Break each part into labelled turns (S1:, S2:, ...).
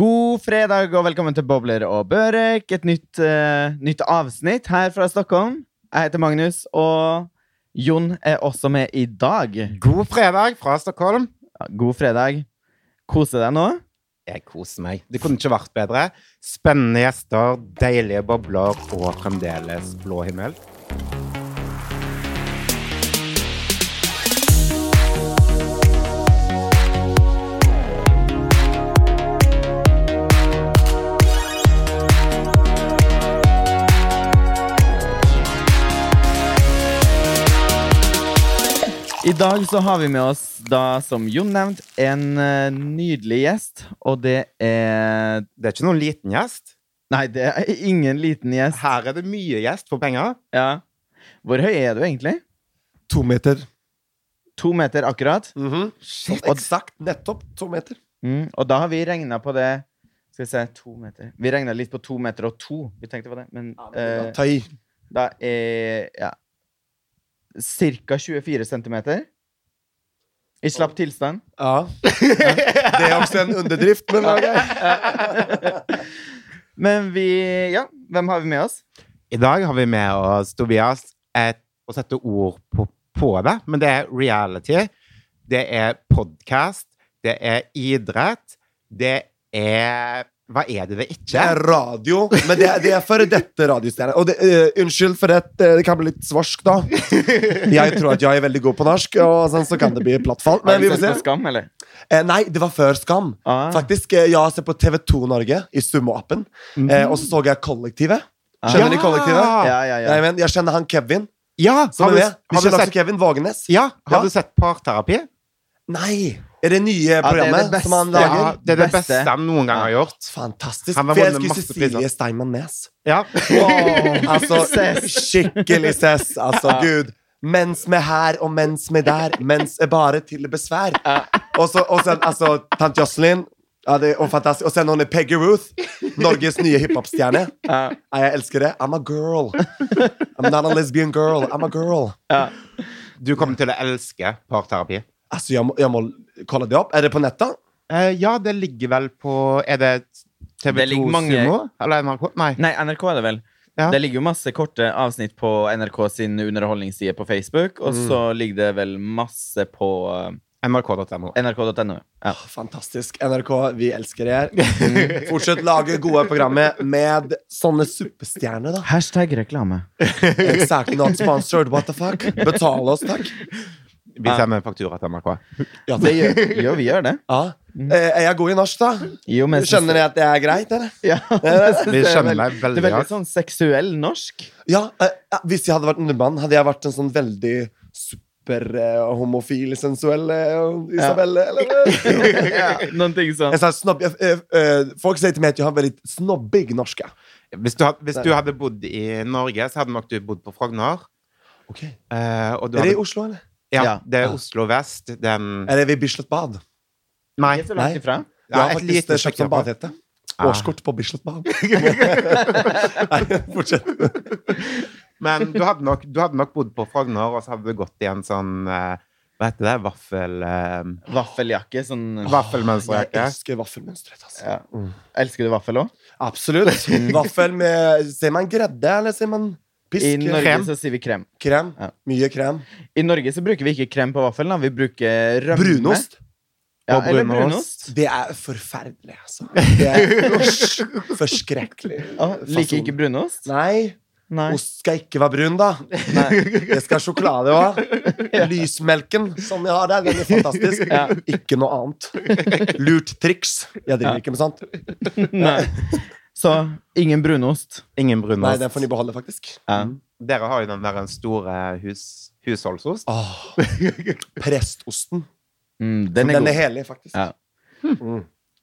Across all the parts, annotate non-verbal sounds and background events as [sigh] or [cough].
S1: God fredag og velkommen til Bobler og Børek. Et nytt, eh, nytt avsnitt her fra Stockholm. Jeg heter Magnus, og Jon er også med i dag.
S2: God fredag fra Stockholm.
S1: God fredag. Kose deg nå.
S2: Jeg koser meg. Det kunne ikke vært bedre. Spennende gjester, deilige bobler og fremdeles blå himmel.
S1: I dag så har vi med oss, da, som Jon nevnte, en eh, nydelig gjest. Og det er
S2: Det er ikke noen liten gjest.
S1: Nei, det er ingen liten gjest.
S2: Her er det mye gjest for penger.
S1: Ja. Hvor høy er du egentlig?
S3: To meter.
S1: To meter akkurat.
S3: Shit,
S1: Og-
S3: eksakt. Mhm. Nettopp to meter.
S1: Mm, og da har vi regna på det Skal vi se, to meter Vi regna litt på to meter og to. Vi tenkte på det, men eh,
S3: Ta i.
S1: da er ja, Cirka 24 centimeter. I slapp tilstand.
S3: Ja. Det er også en underdrift, men det er greit.
S1: Men vi Ja, hvem har vi med oss?
S2: I dag har vi med oss Tobias et, å sette ord på, på det, men det er reality. Det er podkast. Det er idrett. Det er Hva er det det
S3: Det
S2: ikke
S3: er radio, men det er, det er for dette radiostjernet. Og det, eh, unnskyld for at eh, det kan bli litt svarsk, da. Jeg tror at jeg er veldig god på norsk, og sånn så kan det bli plattfall.
S1: Har
S3: Men
S1: du
S3: vi får
S1: sett
S3: se.
S1: på Skam, eller?
S3: Eh, nei, det var før Skam.
S1: Ah.
S3: Faktisk, eh, Jeg ser på TV2 Norge i Sumo-appen, eh, og så så jeg Kollektivet. Skjønner de Kollektivet?
S2: Mhm. Ah. Ja!
S1: Ja, ja, ja.
S3: Jeg,
S1: [laughs]
S3: men, jeg kjenner han Kevin.
S2: ja
S3: Som
S2: har du,
S3: er med.
S2: har du
S3: De kjenner også
S2: sett,
S3: Kevin Vågenes.
S2: ja, har
S3: Ja.
S2: du sett Parterapi?
S3: Nei! Er det nye
S1: det
S3: programmet
S1: beste.
S3: som han lager?
S2: Ja, det er det beste
S1: Beste.
S2: han noen gang har gjort.
S3: Fantastisk.
S2: Han har
S3: For jeg
S2: vunnet
S3: elsker
S2: masse
S3: Cecilie
S2: priser.
S3: Steinmann Nes.
S2: [laughs] Ja.
S3: altså,
S1: Cess.
S3: skikkelig cess. Altså, gud. Mens med her og mens med der. Mens er bare til besvær. Og så og sen, altså, tante Jocelyn. Ja, det er og fantastisk. Og sen hun er Peggy Ruth. Norges nye hiphop-stjerne.
S1: Ja.
S3: Ja, Jeg elsker det. I'm a girl. I'm not a lesbian girl. I'm a girl.
S2: Du kommer til å elske parterapi.
S3: Altså, jeg må, jeg må kolla det opp. Er det på nettet?
S2: Eh, ja, det ligger vel på Er det
S1: Det
S2: TV2
S1: ligger mange-
S2: Sumo? Eller NRK? Nei.
S1: Nei, NRK er det vel.
S2: Ja.
S1: Det ligger jo masse korte avsnitt på NRK sin underholdningsside på Facebook, og så ligger det vel masse på eh,
S2: NRK.no.
S1: nrk.no. Ja.
S3: Fantastisk. NRK, vi elsker dere. Fortsett lage gode programmer med sånne superstjerner, da.
S1: Hashtag reklame.
S3: Exactly not sponsored, what the fuck? Betal oss, takk.
S2: Vi sender faktura til NRK.
S3: Ja,
S1: Det gjør,
S3: [laughs]
S1: jo, vi gjør det.
S3: ja. Eh, Er jeg god i norsk, da?
S1: Jo, men jeg synes-
S3: Skjønner dere at det er greit, eller? [laughs]
S1: Ja,
S2: Vi skjønner deg
S1: Det
S2: veldig
S1: er veldig
S2: godt.
S1: sånn seksuell norsk. [laughs]
S3: Ja, eh, ja, Hvis jeg hadde vært nordmann, hadde jeg vært en sånn veldig superhomofil, sensuell eh,
S2: [laughs]
S3: Isabelle, eller?
S1: Noen ting sånn.
S3: En sånn snobb... eh, eh, eh, Folk sier til meg at jeg har veldig snobbig norsk. ja.
S2: Hvis du, had- hvis du hadde bodd i Norge, så hadde nok du bodd på Frogner.
S3: Ok.
S2: Eh, og du
S3: Er det i
S2: hadde,
S3: Oslo, eller?
S2: ja,
S1: Ja.
S2: det er Oslo vest. Den
S3: Er det ved Bislett bad?
S2: Nei.
S1: Ikke så langt
S3: Nei.
S1: ifra.
S3: Jeg
S2: Ja,
S3: har
S2: et
S3: faktisk
S2: lite
S3: eh, kjøpt
S2: stykke
S3: sånn
S2: bak.
S3: badehette.
S2: Ah.
S3: Årskort på Bislett
S2: [laughs]
S3: Bad. Nei, fortsett.
S2: Men du hadde, nok, du hadde nok bodd på Frogner, og så hadde du gått i en sånn eh, Hva heter det? Vaffel... eh,
S1: Vaffeljakke. Sånn
S3: Jeg
S2: Vaffelmønsterjakke.
S3: elsker vaffelmønstret. Altså.
S1: ja. Elsker du vaffel òg?
S3: Absolutt. [laughs] Vaffel med Sier man gredde, eller sier man
S1: I
S3: pisk?
S1: Norge
S2: krem.
S1: så sier vi krem.
S3: Krem.
S1: Ja.
S3: Mye krem.
S1: I Norge så bruker vi ikke krem på vaffelen. da. Vi bruker rømme.
S3: Brunost.
S1: Ja,
S2: Og
S1: eller
S2: brunost.
S1: brunost.
S3: Det er forferdelig, altså. Det er Usch, forskrekkelig.
S1: Å, liker
S3: fason.
S1: ikke brunost?
S3: Nei.
S1: Nei.
S3: Ost skal ikke være brun, da. Det skal ha sjokolade òg. Lysmelken som jeg har der, den er fantastisk.
S1: Ja.
S3: Ikke noe annet. Lurt triks. Jeg driver ikke med sånt.
S1: Nei. Så ingen brunost.
S2: Ingen
S3: Nei,
S2: brunost. Mm.
S3: den får de beholde, faktisk.
S1: Ja.
S2: Dere har jo den der store hus, husholdsost.
S3: Åh. Prestosten.
S1: Mm, den
S3: Den
S1: er
S3: er,
S1: god.
S3: helig, faktisk.
S1: Ja.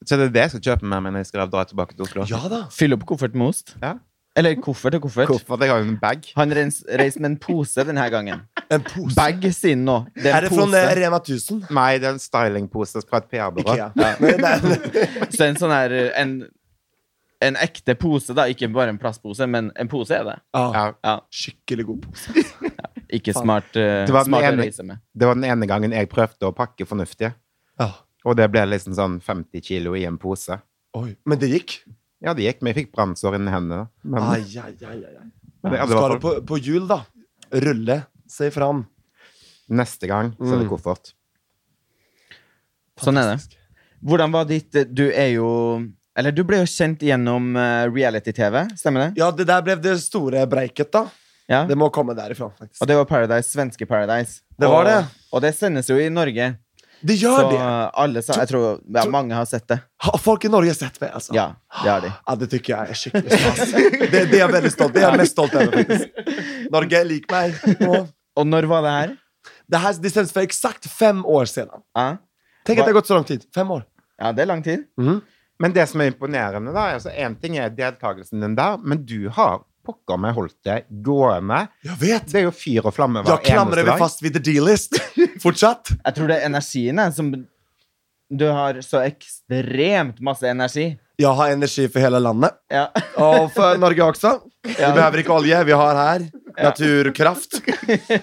S2: Så det er det jeg skal kjøpe med meg når jeg skal dra tilbake til Oslo.
S3: Ja da.
S1: Fyll opp koffert med ost.
S2: Ja.
S1: Eller koffert og koffert.
S2: Hvorfor? Jeg har jo en bag.
S1: Han reis- reiser med en pose denne gangen.
S3: En pose.
S1: Bag, sier han nå. Det
S3: Er
S1: er
S3: det
S1: en
S3: fra
S1: pose.
S3: Rema 1000?
S2: Nei, det er en stylingpose fra et PR-byrå.
S3: Ikea. [laughs] Nei, nei.
S1: Så en sånn her en, en ekte pose, da. Ikke bare en plastpose, men en pose er det.
S3: Ah,
S2: Ja,
S1: Ja,
S3: skikkelig god pose.
S1: ikke smart, eh,
S2: Det var den
S1: smart å
S2: ene-
S1: reise med.
S2: det var den ene gangen jeg prøvde å pakke fornuftig.
S3: Ja.
S2: Og det ble liksom sånn 50 kilo i en pose.
S3: Oj, men det gick.
S2: Ja, det gikk, men jeg fikk brannsår innen hendene. Men,
S3: Aj, aj, aj, aj. aj.
S2: men det, ja, det
S3: Ska
S2: var
S3: du
S2: for,
S3: på, på jul då? Rulle sig fram.
S2: neste gang så er det
S3: Mm.
S2: koffert.
S1: Sånn er det.
S3: Fantastisk.
S1: Hvordan var ditt eh, Du er jo Eller du ble jo kjent gjennom eh, reality-TV, stemmer det?
S3: Ja, det där blev det stora breaket då.
S1: Ja.
S3: Det må komma därifrån faktiskt.
S1: Og det var Paradise, svenske Paradise.
S3: Det var
S1: og,
S3: det.
S1: Og det sendes jo i Norge.
S3: Det
S1: Så
S3: gör det!
S1: alle sa Jeg tror ja,
S3: Tror-
S1: mange har sett det.
S3: Har folk i Norge sett mig alltså?
S1: Ja, det har de.
S3: Ja, det tycker jag är skickligt stas. det, det är jag väldigt stolt Det är jag mest stolt över faktiskt. Norge,
S1: [laughs]
S3: lik mig. Och
S1: Og når var det her?
S3: det här det sänds för exakt fem år sedan.
S1: Ja,
S3: Tänk att det har gått så lång tid. Fem år.
S1: ja det er lang tid.
S3: Mhm.
S2: Men det som er imponerende, da, altså én ting er deltakelsen din der, men du har pokker meg holdt det gående.
S3: Jag vet!
S2: Det er jo fyr og flamme hver
S3: Jag klamrar mig fast vid the D-list. [laughs] Fortsatt.
S1: Jeg tror det er energien jeg, som Du har så ekstremt masse energi.
S3: Jag har energi för hela landet.
S1: Ja.
S3: Och för Norge också. Vi behöver inte olja, vi har här. Naturkraft.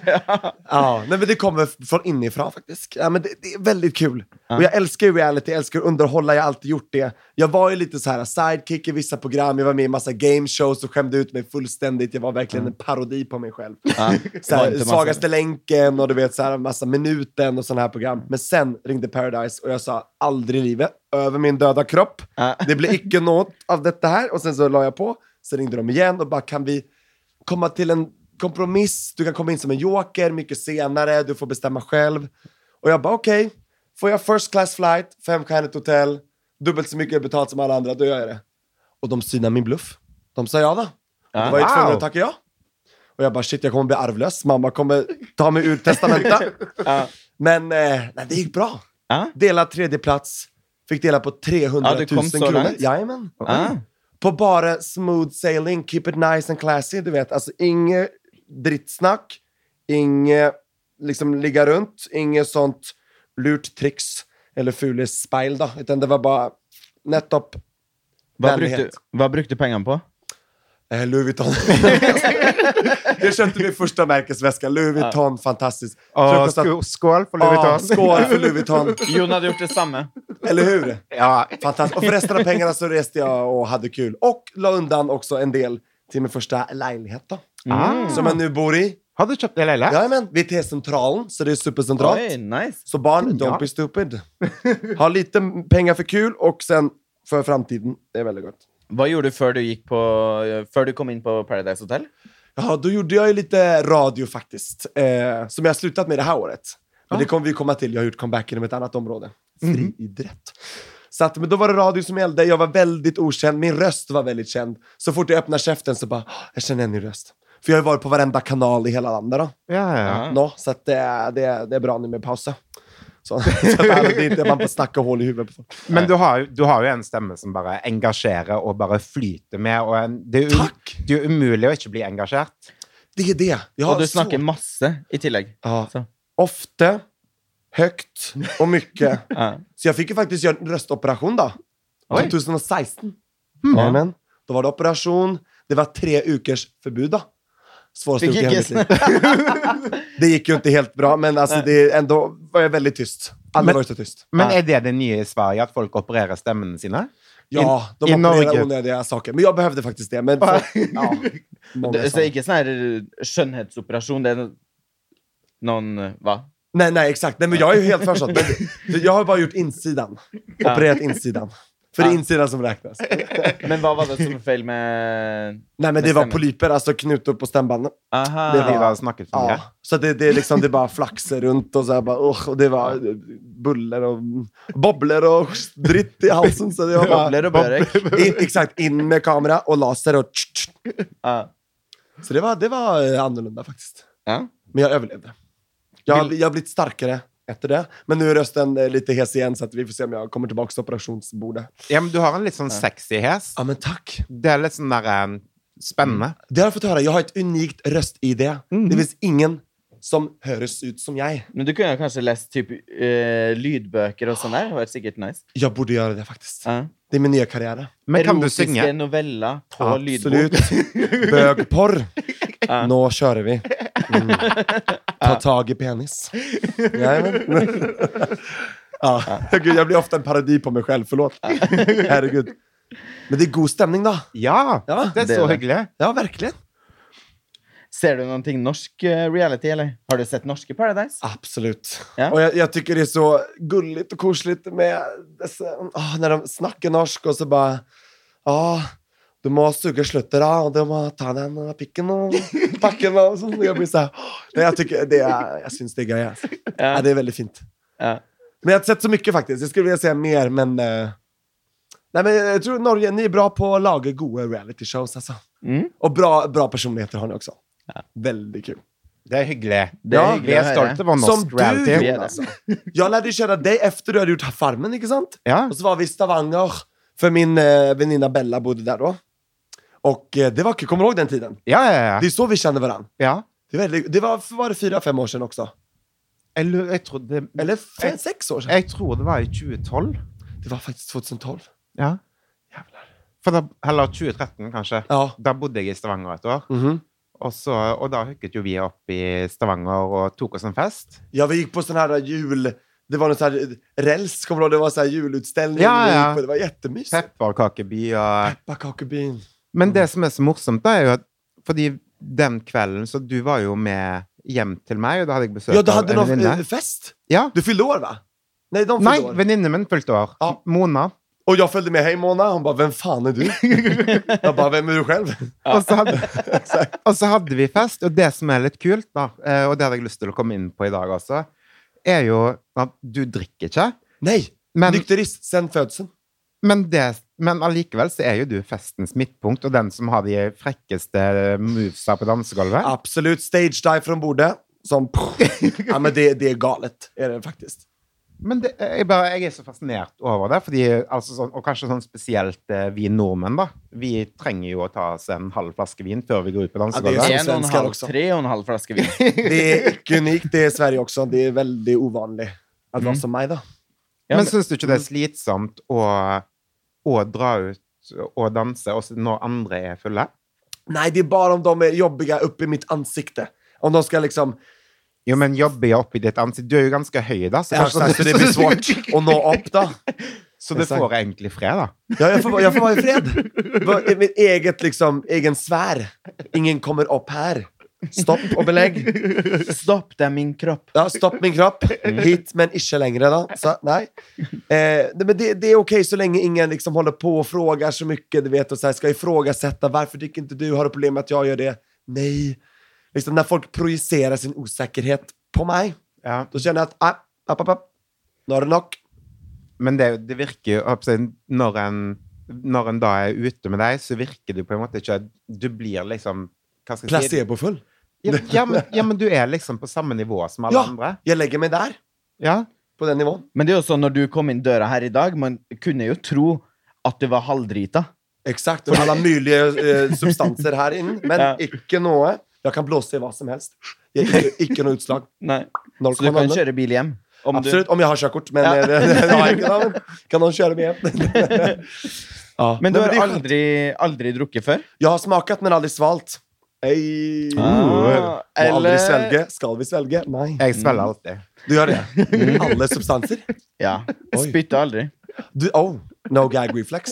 S3: Ja, nej, men det kommer f- från inifrån faktiskt. Ja, men det, det är väldigt kul. Och jag älskar ju reality, jag älskar att underhålla, jag har alltid gjort det. Jag var ju lite så här sidekick i vissa program, jag var med i massa gameshows och skämde ut mig fullständigt. Jag var verkligen en parodi på mig själv.
S1: [laughs] Ja.
S3: Så här,
S1: Inte masse-
S3: svagaste länken och du vet så här massa minuten och sådana här program. Men sen ringde Paradise och jag sa aldrig i livet, över min döda kropp.
S1: Ja.
S3: Det blir icke något av detta här. Och sen så la jag på. Sen ringde de igen och bara, kan vi komma till en kompromiss? Du kan komma in som en joker mycket senare. Du får bestämma själv. Och jag bara, okej. får jag first class flight, femstjärnigt hotell, dubbelt så mycket betalt som alla andra, då gör jag det. Och de synade min bluff. De sa ja då. Och då var jag
S2: Wow.
S3: tvungen att tacka ja. Och jag bara, shit, jag kommer bli arvlös. Mamma kommer ta mig ur testamentet.
S1: [laughs] Ja.
S3: Men eh, nej, det gick bra.
S1: Ja.
S3: Delad tredje plats. Fick dela på 300
S1: Ja,
S3: 000
S1: du kom så
S3: kronor.
S1: långt.
S3: Jajamän.
S1: Ja.
S3: På bara smooth sailing, keep it nice and classy. Du vet, altså, alltså inget drittsnack, inget liksom ligga runt, inget sånt lurt tricks eller fulispeil då. Utan det var bara nettopp
S1: Hva,
S3: Vennlighet.
S1: brukte, hva brukte du pengene på?
S3: Eh, Louis [laughs] Vuitton. jag köpte min första märkesväska. Louis Vuitton, fantastiskt. Tror jag
S2: Og
S3: kostar-
S2: sko- skål for Louis
S3: Ah,
S2: Vuitton.
S3: skål för Louis Vuitton.
S1: Jon hadde gjort det samme.
S3: Eller hur?
S2: Ja,
S3: Fantastiskt. Och för resten av pengarna så reste jag och hade kul. Och la undan också en del till min första lägenhet då.
S2: Ah.
S3: Som jag nu bor i.
S2: Har du kjøpt det leilighet?
S3: Jajamän, vid T-centralen, så det är supercentralt.
S1: Oi, nice.
S3: Så barn, don't
S2: Ja.
S3: be stupid. Ha lite pengar för kul och sen för framtiden. Det är väldigt gott.
S1: Hva gjorde du før du, gikk på, før du kom inn på Paradise Hotel?
S3: Ja, då gjorde jag ju lite radio faktiskt, eh, som jag har slutat med det här året. Men det kommer vi komma till. Jag har gjort comeback inom ett annat område. Friidrott. Så att, men då var det radio som gällde. Jag var väldigt okänd. Min röst var väldigt känd. Så fort jag öppnar käften så bara, "Åh, jag känner igen min röst. För jag har ju varit på varenda kanal i hela landet då.
S2: Ja, ja.
S1: Ja.
S3: Nå, så att det, är- det, är- det är bra nu med pauser. Så, [laughs] så att alla, det är inte man bara snackar hål i huvudet på folk.
S2: Men du har, jo- du har jo en stemme som bare engasjerer og bare flyter med. Og en, det, er um,
S3: Takk!
S2: det er jo umulig å ikke bli engasjert.
S3: Det är det. Jag har
S1: Og du
S3: så-
S1: snakker masse i tillegg.
S3: Ja.
S1: Så.
S3: Ofta, högt och mycket.
S1: Ja.
S3: Så jag fick ju faktiskt göra en röstoperation då.
S1: Oj.
S3: 2016.
S1: Hmm.
S3: Jajamän. Då var det operation. Det var tre ukers förbud då. Svåraste
S1: Det
S3: uken i
S1: gick
S3: mitt
S1: [laughs]
S3: liv. Det gick ju inte helt bra, men alltså,
S1: Nej.
S3: det, är- ändå var jag väldigt tyst. Aldrig
S2: Men-
S3: varit så tyst.
S2: Men
S1: Ja.
S2: er det det nye i Sverige, at folk opererer stemmene sine?
S3: Ja, de
S2: i
S3: opererar
S2: Norge.
S3: onödiga saker. Men jag behövde faktiskt det.
S1: [laughs]
S3: Men för, ja, många
S1: Det, [laughs] så
S3: sa-
S1: det er ikke sånn her skjønnhetsoperasjon. Det er no- noen eh, Hva?
S3: Nej, nej, exakt. Nej, men jag är ju helt för sånt. Men
S1: [laughs]
S3: det- Jag har bara gjort insidan.
S1: Ja.
S3: Opererat insidan. För det är
S1: Ja.
S3: insidan
S1: [laughs]
S3: som räknas.
S1: Men hva var det som var feil med
S3: Nej, men det
S1: Med
S3: var
S1: stämmer.
S3: polyper, alltså knutor på stämbanden.
S1: Aha.
S3: Det
S2: Fordi
S3: var-
S2: det har snakket for
S3: Ja,
S2: mye.
S3: så det, det, är liksom, det bara flaxar runt och så här bara, "Ugh", och det var buller och bobblor och dritt i halsen. Så det var bara,
S1: Bobler og børek.
S3: [laughs] in, exakt, in med kamera og laser och tsch, tsch.
S1: Ja.
S3: Så det var, det var eh, annorlunda faktiskt.
S1: Ja.
S3: Men jag överlevde. Jag, har- jag har blivit starkare efter det. Men nu är rösten eh, lite hes igen så att vi får se om jag kommer tillbaka till operationsbordet.
S2: Ja, men du har en litt sånn sexy hes.
S3: Ja, men tack.
S2: Det er litt sånn der eh, spennende.
S3: Det har jag fått höra. Jag har ett unikt röst-ID. Det finns ingen som hörs ut som jag.
S1: Men du kunne jo kanskje lest typ, eh, lydbøker og sånn der? Det hadde vært sikkert nice.
S3: Jag borde göra det faktiskt.
S1: Ja.
S3: Det är min nya karriär.
S2: Men kan du
S1: Erotiske
S2: synge?
S1: noveller på
S3: Absolut.
S1: lydbok.
S3: Bögporr.
S1: Ja.
S3: Nå kjører vi. Mm. Ta tag i penis. Jajamän. Ja. Gud, jag blir ofta en parodi på mig själv, förlåt. Herregud. Men det är god stämning då.
S2: Ja,
S3: Ja,
S2: det er
S1: det er
S2: så
S1: det.
S2: hyggelig.
S3: Ja, verkligen.
S1: Ser du noen ting norsk eh, reality, eller? Har du sett norske Paradise?
S3: Absolut.
S1: Ja.
S3: Och jag, jag tycker det är så gulligt och kosligt med dessa, åh, när de snackar norsk och så bara Ja, du måste suga slutet då, och du måste ta den och picken och packen och så. Jag sånn. blir så här, åh, nej, jag, tycker det är, jag syns det är gøy. Alltså. Ja, det är väldigt fint.
S1: Ja.
S3: Men jag har inte sett så mycket faktiskt. Jag skulle vilja säga mer, men... eh, nej, men jag tror Norge, ni är bra på att laga goda reality shows alltså.
S1: Mm.
S3: Och bra, bra personligheter har ni också. Väldigt kul.
S2: Det er hyggelig.
S1: Det er
S3: Ja,
S1: hyggelig
S2: Vi er
S1: å høre.
S2: stolte av vår
S3: Som
S2: norsk
S3: du, altså.
S2: reality.
S1: Vi er det.
S3: Jonas. Jag lärde känna dig efter du hade gjort Farmen, inte sant?
S2: Ja.
S3: Och så var vi i Stavanger, för min eh, väninna Bella bodde där då. Och eh, det var kul. Kommer du ihåg den tiden?
S2: Ja, ja,
S3: Det
S2: ja.
S3: är så vi kände varandra.
S2: ja.
S3: Det, var väldigt, det var, var det fyra, fem år sedan också?
S2: Jeg, lu- jeg, tror det,
S3: Eller
S2: Eh,
S3: fem, sex år sedan?
S2: jeg tror det var i 2012.
S3: Det var faktiskt 2012.
S2: Ja.
S3: Jävlar.
S2: For da, eller 2013, kanskje.
S3: Ja.
S2: Da bodde jeg i Stavanger et år.
S3: Mhm.
S2: Og, så, og da hooket jo vi opp i Stavanger og tok oss en fest.
S3: Ja, vi gick på sån här jul... Det var sånn någon sån här räls, eh, kommer du ihåg? Det var sån här julutställning.
S2: Ja,
S3: vi gick
S2: ja.
S3: på. Det var jättemysigt.
S2: Pepperkakeby og
S3: Pepparkakebyn.
S2: Men
S3: Mm.
S2: det som er så morsomt, da, er jo at fordi den kvelden så du var jo med hjem til meg, og da hadde jeg besøk
S3: Ja, du hade
S2: av en
S3: någon eh,
S2: venninne.
S3: fest.
S2: Ja.
S3: Du fyllde år, va? Nej, de fyllde
S2: Nei,
S3: år.
S2: venninnen min fylte år.
S3: Ja.
S2: Mona.
S3: Och jag följde med. Hej Mona. Hon bara, vem fan
S2: [laughs]
S3: är du? jag bara, vem är du själv?
S2: Og, så
S3: [laughs]
S2: hadde, og så hadde vi fest, og det som er litt kult, da, eh, og det hadde jeg lyst til å komme inn på i dag også, er jo at du drikker ikke,
S3: Nej,
S2: men,
S3: nykterist sen födseln.
S2: men, det, men allikevel så er jo du festens midtpunkt, og den som har de frekkeste movesa på dansegulvet.
S3: Absolut, stage dive från bordet. Som, ja, men det, det är galet, är det faktiskt.
S2: Men det, jeg, bare, jeg er så fascinert over det, fordi, altså, sånn, og kanskje sånn spesielt eh, vi nordmenn. da. Vi trenger jo å ta oss en halv flaske vin før vi går ut på
S3: Ja,
S2: dansegulvet.
S3: det er-
S1: En og en
S3: svensker
S1: halv,
S3: også.
S1: tre og en halv flaske vin.
S3: [laughs] Det är icke unikt, det är i Sverige också. Det är väldigt ovanligt att vara
S2: Mhm.
S1: Mm.
S3: som mig då.
S1: Ja,
S2: men
S1: men,
S2: syns du ikke det er
S3: Mm.
S2: slitsomt å, å dra ut og danse også når andre er fulle?
S3: Nej, det är bara om de är jobbiga upp i mitt ansikte. Om de ska liksom...
S2: Jo, men jobber jeg opp i ditt ansikt? Du er jo ganske høy, da. Så, sånn-
S3: Ja, så det blir svårt att nå upp då.
S2: [laughs] så det får jeg egentlig fred, da.
S3: Ja, jag får, vara- jag får vara i fred. Va- I mitt eget, liksom, egen sfär. Ingen kommer upp här. Stopp och belägg.
S1: stopp, det er min kropp.
S3: Ja, stopp min kropp. Hit, men inte längre då. Så, nej. Eh, nej, men det, det är okej så länge ingen liksom håller på och frågar så mycket, du vet, och så här, ska ifrågasätta. Varför tycker inte du? Har du problem med att jag gör det? Nej. Liksom, när folk projicerar sin osäkerhet på mig,
S2: Ja.
S3: då känner jag att, ah, app, app, app. Nu har det nog.
S2: Men det, det virker jo jeg håper å si, når en, når en da er ute med deg, så virker du på en måte ikke Du blir liksom hva skal jeg si?
S3: Placebofull.
S2: Ja,
S3: [laughs]
S2: ja, men, ja, men du er liksom på samme nivå som alle
S3: Ja.
S2: andre.
S3: Jag lägger mig där,
S2: Ja.
S3: på den nivån.
S1: Men det er jo sånn når du kom inn døra her i dag, man kunne jo tro at du var halvdrita.
S3: Exakt, och alla möjliga eh, substanser här in, men
S1: Ja.
S3: icke något. Jag kan blåsa i vad som helst. Jag icke, icke något utslag.
S1: Nei.
S3: Noll
S1: Så du kan
S3: komma noll.
S1: kjøre bil hjem. Om du,
S3: Absolut, om jag har körkort. Men,
S1: Ja.
S3: eh, det, det har jag inte,
S1: [laughs]
S3: Ja, men kan någon köra med hem? ja.
S1: men du har
S3: det är skönt.
S1: aldri, aldri drukket før?
S3: Jag har smakat men aldrig svalt. Ej.
S1: Ah,
S3: Må aldrig
S1: eller
S3: svälge. Ska vi svälge? Nej.
S2: Jeg svelger alltid.
S3: Du gör det?
S1: [laughs]
S3: Alla substanser?
S1: Ja.
S3: Oi.
S1: Spytte aldri.
S3: Du, oh, no gag reflex.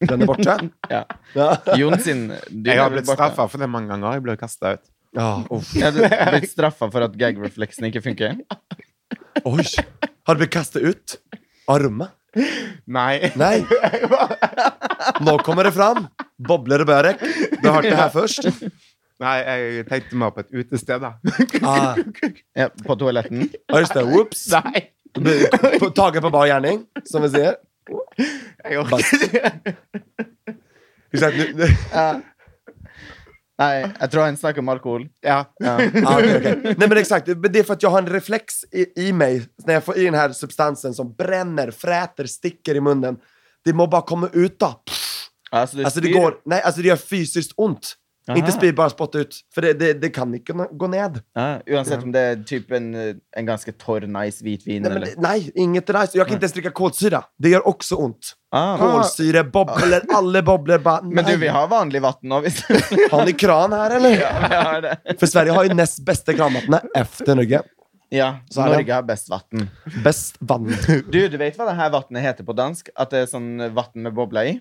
S3: Den är borta.
S1: Ja.
S3: Ja. [laughs]
S1: [laughs] Jon sin din
S2: Jeg
S1: er
S2: har
S1: vel
S2: blitt
S1: borte.
S2: straffa for det mange ganger. Jeg ble kasta ut.
S3: Ja, oh.
S1: Ja, du har blitt straffa for at gag-refleksen ikke funker?
S3: Oj. Har du blivit kastad ut av rummet?
S2: Nei.
S3: Nej. Nå kommer det fram. Bobler och börek. Du har hört det här först.
S2: Nei, jeg tenkte meg på et utested, da.
S3: Ah.
S1: Ja, på toaletten?
S3: Ja, just det. Whoops.
S2: Nei.
S3: Blir på- Tagen på bar gärning, som vi ser.
S2: Jeg orker ikke.
S3: Exakt, nu, nu.
S1: Ja. Nei, jeg tror han snakker om alkohol.
S2: Ja.
S1: Ja.
S3: [laughs] Ah, okej, okej. Nej men exakt, men det är för att jag har en reflex i, i mig när jag får i den här substansen som bränner, fräter, sticker i munnen. Det må bara komma ut då.
S1: Altså, du
S3: Alltså det
S1: spyr.
S3: går, nej alltså det gör fysiskt ont.
S1: Aha.
S3: Inte spy, bara spotta ut. För det, det, det kan inte kunna gå ned.
S1: Ja, uansett om det er typ en, en ganske torr, nice hvitvin,
S3: Nej, men,
S1: eller
S3: det- nej inget är nice. Jag kan inte ens dricka kolsyra. Det gör också ont.
S1: ah,
S3: Kolsyre, bobblor, alla bobblor bara
S1: [laughs]
S3: nej.
S1: Men du, vi har vanlig vann nå, hvis
S3: Har ni kran här eller?
S1: Ja, vi har det.
S3: För Sverige har ju näst bästa kranvattnet efter Norge.
S1: Ja,
S3: Så er det-
S1: Norge har best vann.
S3: Best vann.
S1: Du, du vet hva det her vannet heter på dansk? At det er sånn vann med bobler i?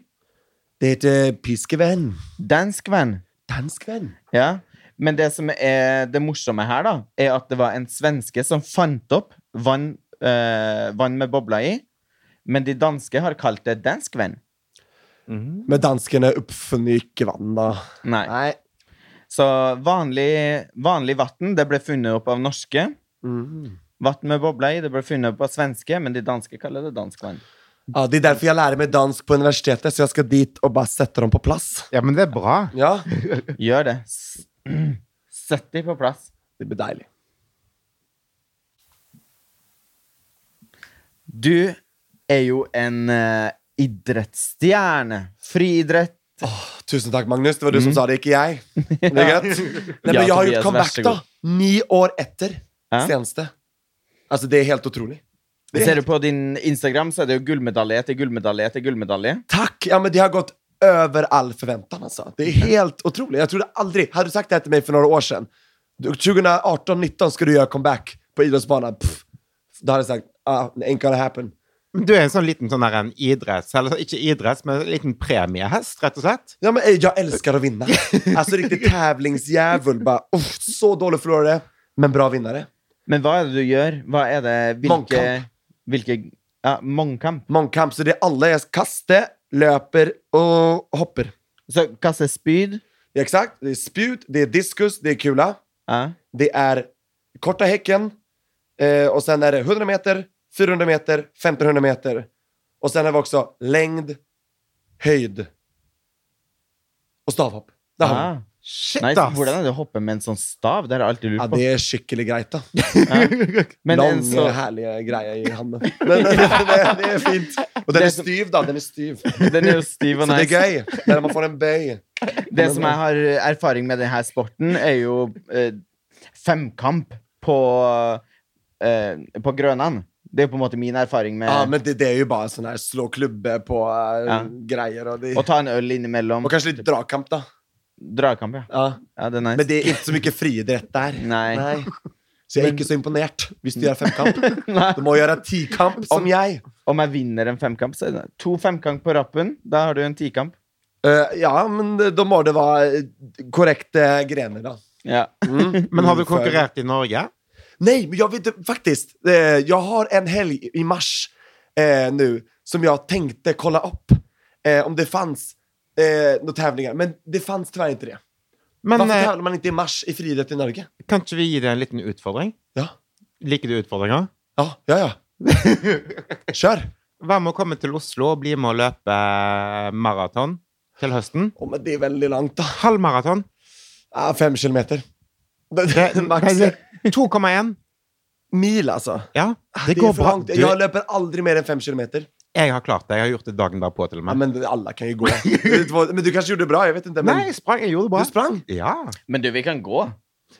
S3: Det heter piskevenn.
S1: Danskvann.
S3: Danskvenn.
S1: Ja. Men det som er det morsomme her, da, er at det var en svenske som fant opp vann, eh, vann med bobler i. Men de danske har kalt det danskvann.
S3: Men danskene oppfunnet ikke vann, da.
S1: Nei.
S3: Nei.
S1: Så vanlig, vanlig vann det ble funnet opp av norske.
S3: Mm.
S1: Vann med bobler i det ble funnet opp av svenske, men de danske kaller det danskvann.
S3: Ja, det er derfor jeg lærer meg dansk på universitetet, så jeg skal dit og bare sette dem på plass.
S2: Ja, men det er bra.
S3: Ja,
S1: Gjør det. S- [clears throat] Sett de på plass.
S3: Det blir deilig.
S1: Du er jo en eh, idrettsstjerne. Friidrett.
S3: Tusen takk, Magnus. Det var du som sa det, ikke jeg. Det er greit. Nei,
S1: Ja,
S3: men jeg har
S1: Tobias,
S3: gjort
S1: vær
S3: comeback,
S1: så
S3: da.
S1: god.
S3: Ni år etter
S1: Ja.
S3: seneste. Altså, det er helt utrolig. Det
S1: Ser
S3: er,
S1: du på din Instagram, så er det jo gullmedalje etter gullmedalje etter gullmedalje.
S3: takk! Ja, men det har gått over all forventning, altså. Det er helt utrolig. Jeg trodde aldri Hadde du sagt det til meg for noen år siden du- 2018-2019 skal du gjøre comeback på idrettsbanen. Pff, Da hadde jeg sagt ah, ain't gonna happen.
S2: Men du er en sånn liten sånn der, en idretts... Eller ikke idretts, men en liten premiehest, rett og slett.
S3: Ja, men eh, jeg elsker å vinne. Altså, riktig tävlingsjævel. Bare, uff, så dårlig forlorere, men bra vinnere.
S1: Men hva er det du gjør? Hva er det? Hvilke,
S3: Mångkamp.
S1: hvilke ja, Mångkamp.
S3: Mångkamp, så det er alle jeg kaster, løper og hopper.
S1: Så kaste spyd.
S3: Ja, exakt. Det er spjut, det er diskus, det er kula.
S1: Ja.
S3: Det er korta hekken. Eh, og sen er det 100 meter, 400 meter, 1500 meter. Og sen er det også lengd, høyd og stavhopp. Det har vi.
S1: Ah.
S2: Shit,
S1: Nei,
S2: ass!
S1: hvordan er det å hoppe med en sånn stav? Det har jeg alltid
S3: Ja,
S1: lurt på.
S3: det er skikkelig greit, da.
S1: Men en
S3: Lange,
S1: så,
S3: herlige greier i handen. Men det, det, det er fint. Og den er stiv, da. Den er stiv.
S1: den er jo stiv
S3: [laughs] Så
S1: og
S3: det er
S1: nice.
S3: gøy. Når man får en bøy.
S1: Det som jeg har erfaring med denne sporten, er jo eh, femkamp på, eh, på Grønland. Det er jo på en måte min erfaring med
S3: Ja, Ah, men det, det er jo bare sånn her slå klubbe på eh,
S1: Ja.
S3: greier og, de,
S1: å ta en øl innimellom.
S3: og kanskje litt dragkamp, da.
S1: Dragkamp, ja.
S3: Ja.
S1: ja. Det er nice.
S3: Men det er ikke så mye friidrett der.
S1: Nei.
S3: Så jeg er
S1: Men-
S3: ikke så imponert hvis du gjør femkamp.
S1: [laughs] Nei.
S3: Du må gjøre tikamp som jeg.
S1: Om jeg vinner en femkamp, så er det to femkamp på rappen. Da har du en tikamp.
S3: Eh, ja, men da må det være eh, korrekte grener, da.
S1: Ja.
S3: Mm.
S2: [laughs] Men har du
S3: Mm, for-
S2: konkurrert i Norge?
S3: Nej, men jag vet faktiskt. Eh, jag har en helg i mars eh, nu som jag tänkte kolla upp eh, om det fanns eh, några tävlingar. Men det fanns tyvärr inte det.
S2: Men
S3: Varför
S2: eh,
S3: tävlar man inte i mars i friidrott i Norge?
S2: kan ikke vi gi deg en liten utfordring?
S3: Ja,
S2: Liker du utfordringer?
S3: ja, ja. ja. [laughs] Kör!
S2: Vær med å komme til Oslo og bli med å løpe eh, maraton til høsten.
S3: Oh, men det är väldigt långt då.
S2: Halv maraton.
S3: Ah, fem kilometer.
S2: Det-
S3: [laughs] Max.
S2: det- 2,1.
S3: Mil alltså.
S2: Ja, altså. det
S3: är
S2: går
S3: för
S2: bra.
S3: långt.
S2: Du,
S3: Jag löper aldrig mer än fem kilometer.
S2: jeg har klart det. Jeg har gjort det dagen derpå, til og
S3: Ja,
S2: med.
S3: men alla kan
S2: [laughs]
S3: ju gå. men du kanske gjorde bra, jag vet inte. Men...
S2: Nei, jeg sprang. Jeg gjorde det bra.
S3: Du sprang?
S2: Ja.
S1: Men du, vi kan gå.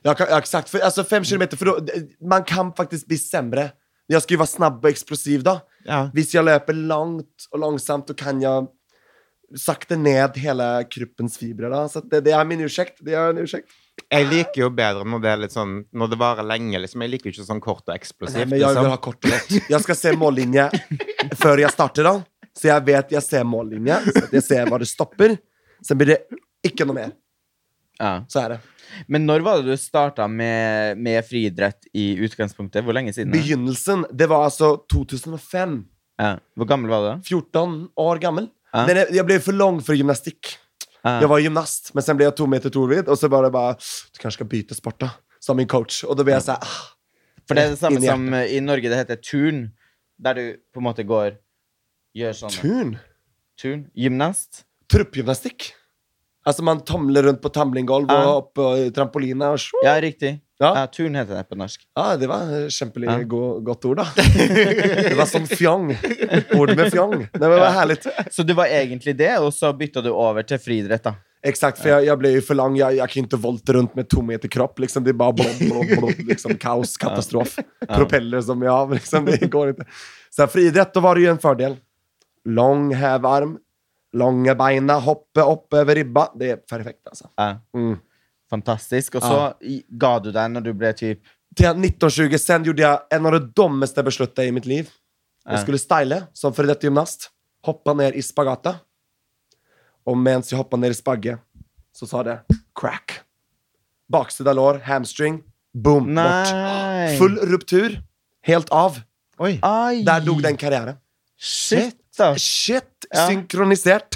S3: Ja, ka- ja, exakt. För, alltså altså, fem kilometer, för då, d- man kan faktiskt bli sämre. Jag ska ju vara snabb och explosiv då.
S2: ja.
S3: Visst, jag löper långt och långsamt och kan jag sakta ned hela kroppens fibrer. Då. Så att det, det är min ursäkt. Det är en ursäkt.
S2: Jeg liker jo bedre når det er litt sånn Når det varer lenge, liksom. Jeg liker jo ikke sånn kort og
S3: Nej,
S2: eksplosivt.
S3: men jag vill ha
S2: liksom.
S3: kort och gott. Jag ska se mållinje före jag startar då. Så jag vet, jag ser mållinje. Så att jag ser var det stoppar. Sen blir det icke något mer.
S1: Ja.
S3: Så är det.
S1: Men når var det du starta med, med friidrett i utgangspunktet? Hvor lenge siden? er det?
S3: Begynnelsen, det var altså 2005.
S1: Ja. Hvor gammel var du da?
S3: 14 år gammel.
S1: Ja.
S3: Men jeg, jeg ble for lang for gymnastikk.
S1: Ja.
S3: Jeg var gymnast, men sen ble jeg to meter torvidd, og så bare bare Du kanskje skal bytte sport, da. Sa min coach. Og da ble jeg sånn ah,
S1: For det er det samme
S3: Inn i
S1: som eh, i Norge det heter turn, der du på en måte går Gjør sånn
S3: Turn?
S1: turn. Gymnast.
S3: Truppgymnastikk. Altså, man tumler rundt på tamlinggolv og
S1: Ja.
S3: opp på trampolina og sjo.
S1: Ja, riktig.
S3: Ja.
S1: Ja, turn heter det på norsk.
S3: Ja, det var eh, kjempelig
S1: Ja.
S3: go- godt ord, da. [laughs] Det var sånn fjong. Ord med fjong. Nei, men Det var herlig.
S1: Så du var egentlig det, og så bytta du over til friidrett, da.
S3: Exakt, för jag, jag blev ju för lång. Jag, jag kan inte volta runt med tom meter kropp. Liksom. Det är bara blob, blob, blob, liksom, kaos, katastrof. Propeller som jag har. Liksom. Det går inte. Så här, friidrett, då var det ju en fördel. Lång hävarm, långa beina, hoppa upp över ribba. Det är perfekt alltså.
S1: Ja.
S3: Mm.
S1: Fantastisk. Og så i- ga du deg når du ble typ
S3: till 1920 sen gjorde jag en av de dummaste besluten i mitt liv. Jag
S1: Ja.
S3: skulle styla som före detta gymnast, hoppa ner i spagata. Och medan jag hoppade ner i spagge så sa det crack. Baksida lår, hamstring, boom,
S1: Nei.
S3: bort. Full ruptur, helt av.
S2: Oi.
S1: Ai.
S3: Där dog den karriären.
S1: Shit, da.
S3: Shit,
S1: Ja.
S3: synkroniserat.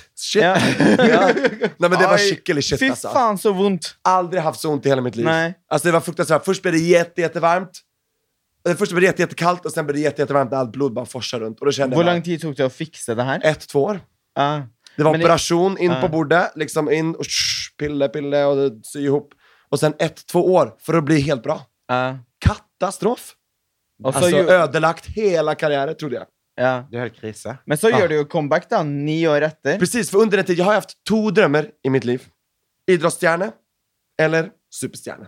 S1: [laughs]
S3: Shit.
S1: Ja.
S3: [laughs] Ja. Nej men det var
S1: Oi.
S3: skicklig shit
S1: Fy
S3: alltså.
S1: faen, så vondt.
S3: aldrig haft så ont i hela mitt liv.
S1: Nej.
S3: Alltså det var fruktansvärt. Först blev det jätte, jättevarmt. Eh, Först blev det jätte, jättekallt och sen blev det jätte, jättevarmt när allt blod bara forsar runt. Och då kände
S1: Hvor
S3: jag
S1: lang tid tok det å fikse det her? Ah,
S3: bara, ett, två år.
S1: Ja.
S3: Det var
S1: Men det-
S3: operation, in på
S1: Ja.
S3: bordet, liksom in och shh, pille, pille och det- sy ihop. Och sen ett, två år för att bli helt bra.
S1: Ja.
S3: Katastrof!
S1: ah. Og så
S3: Alltså
S1: gjør-
S3: ödelagt hela karriären trodde jag.
S1: ja.
S2: Det er helt krise.
S1: Men så
S3: Ja.
S1: gjør du jo comeback, da. Ni år etter.
S3: Precis, för under den tiden, jag har haft två drömmar i mitt liv. Idrottsstjärna eller superstjärna.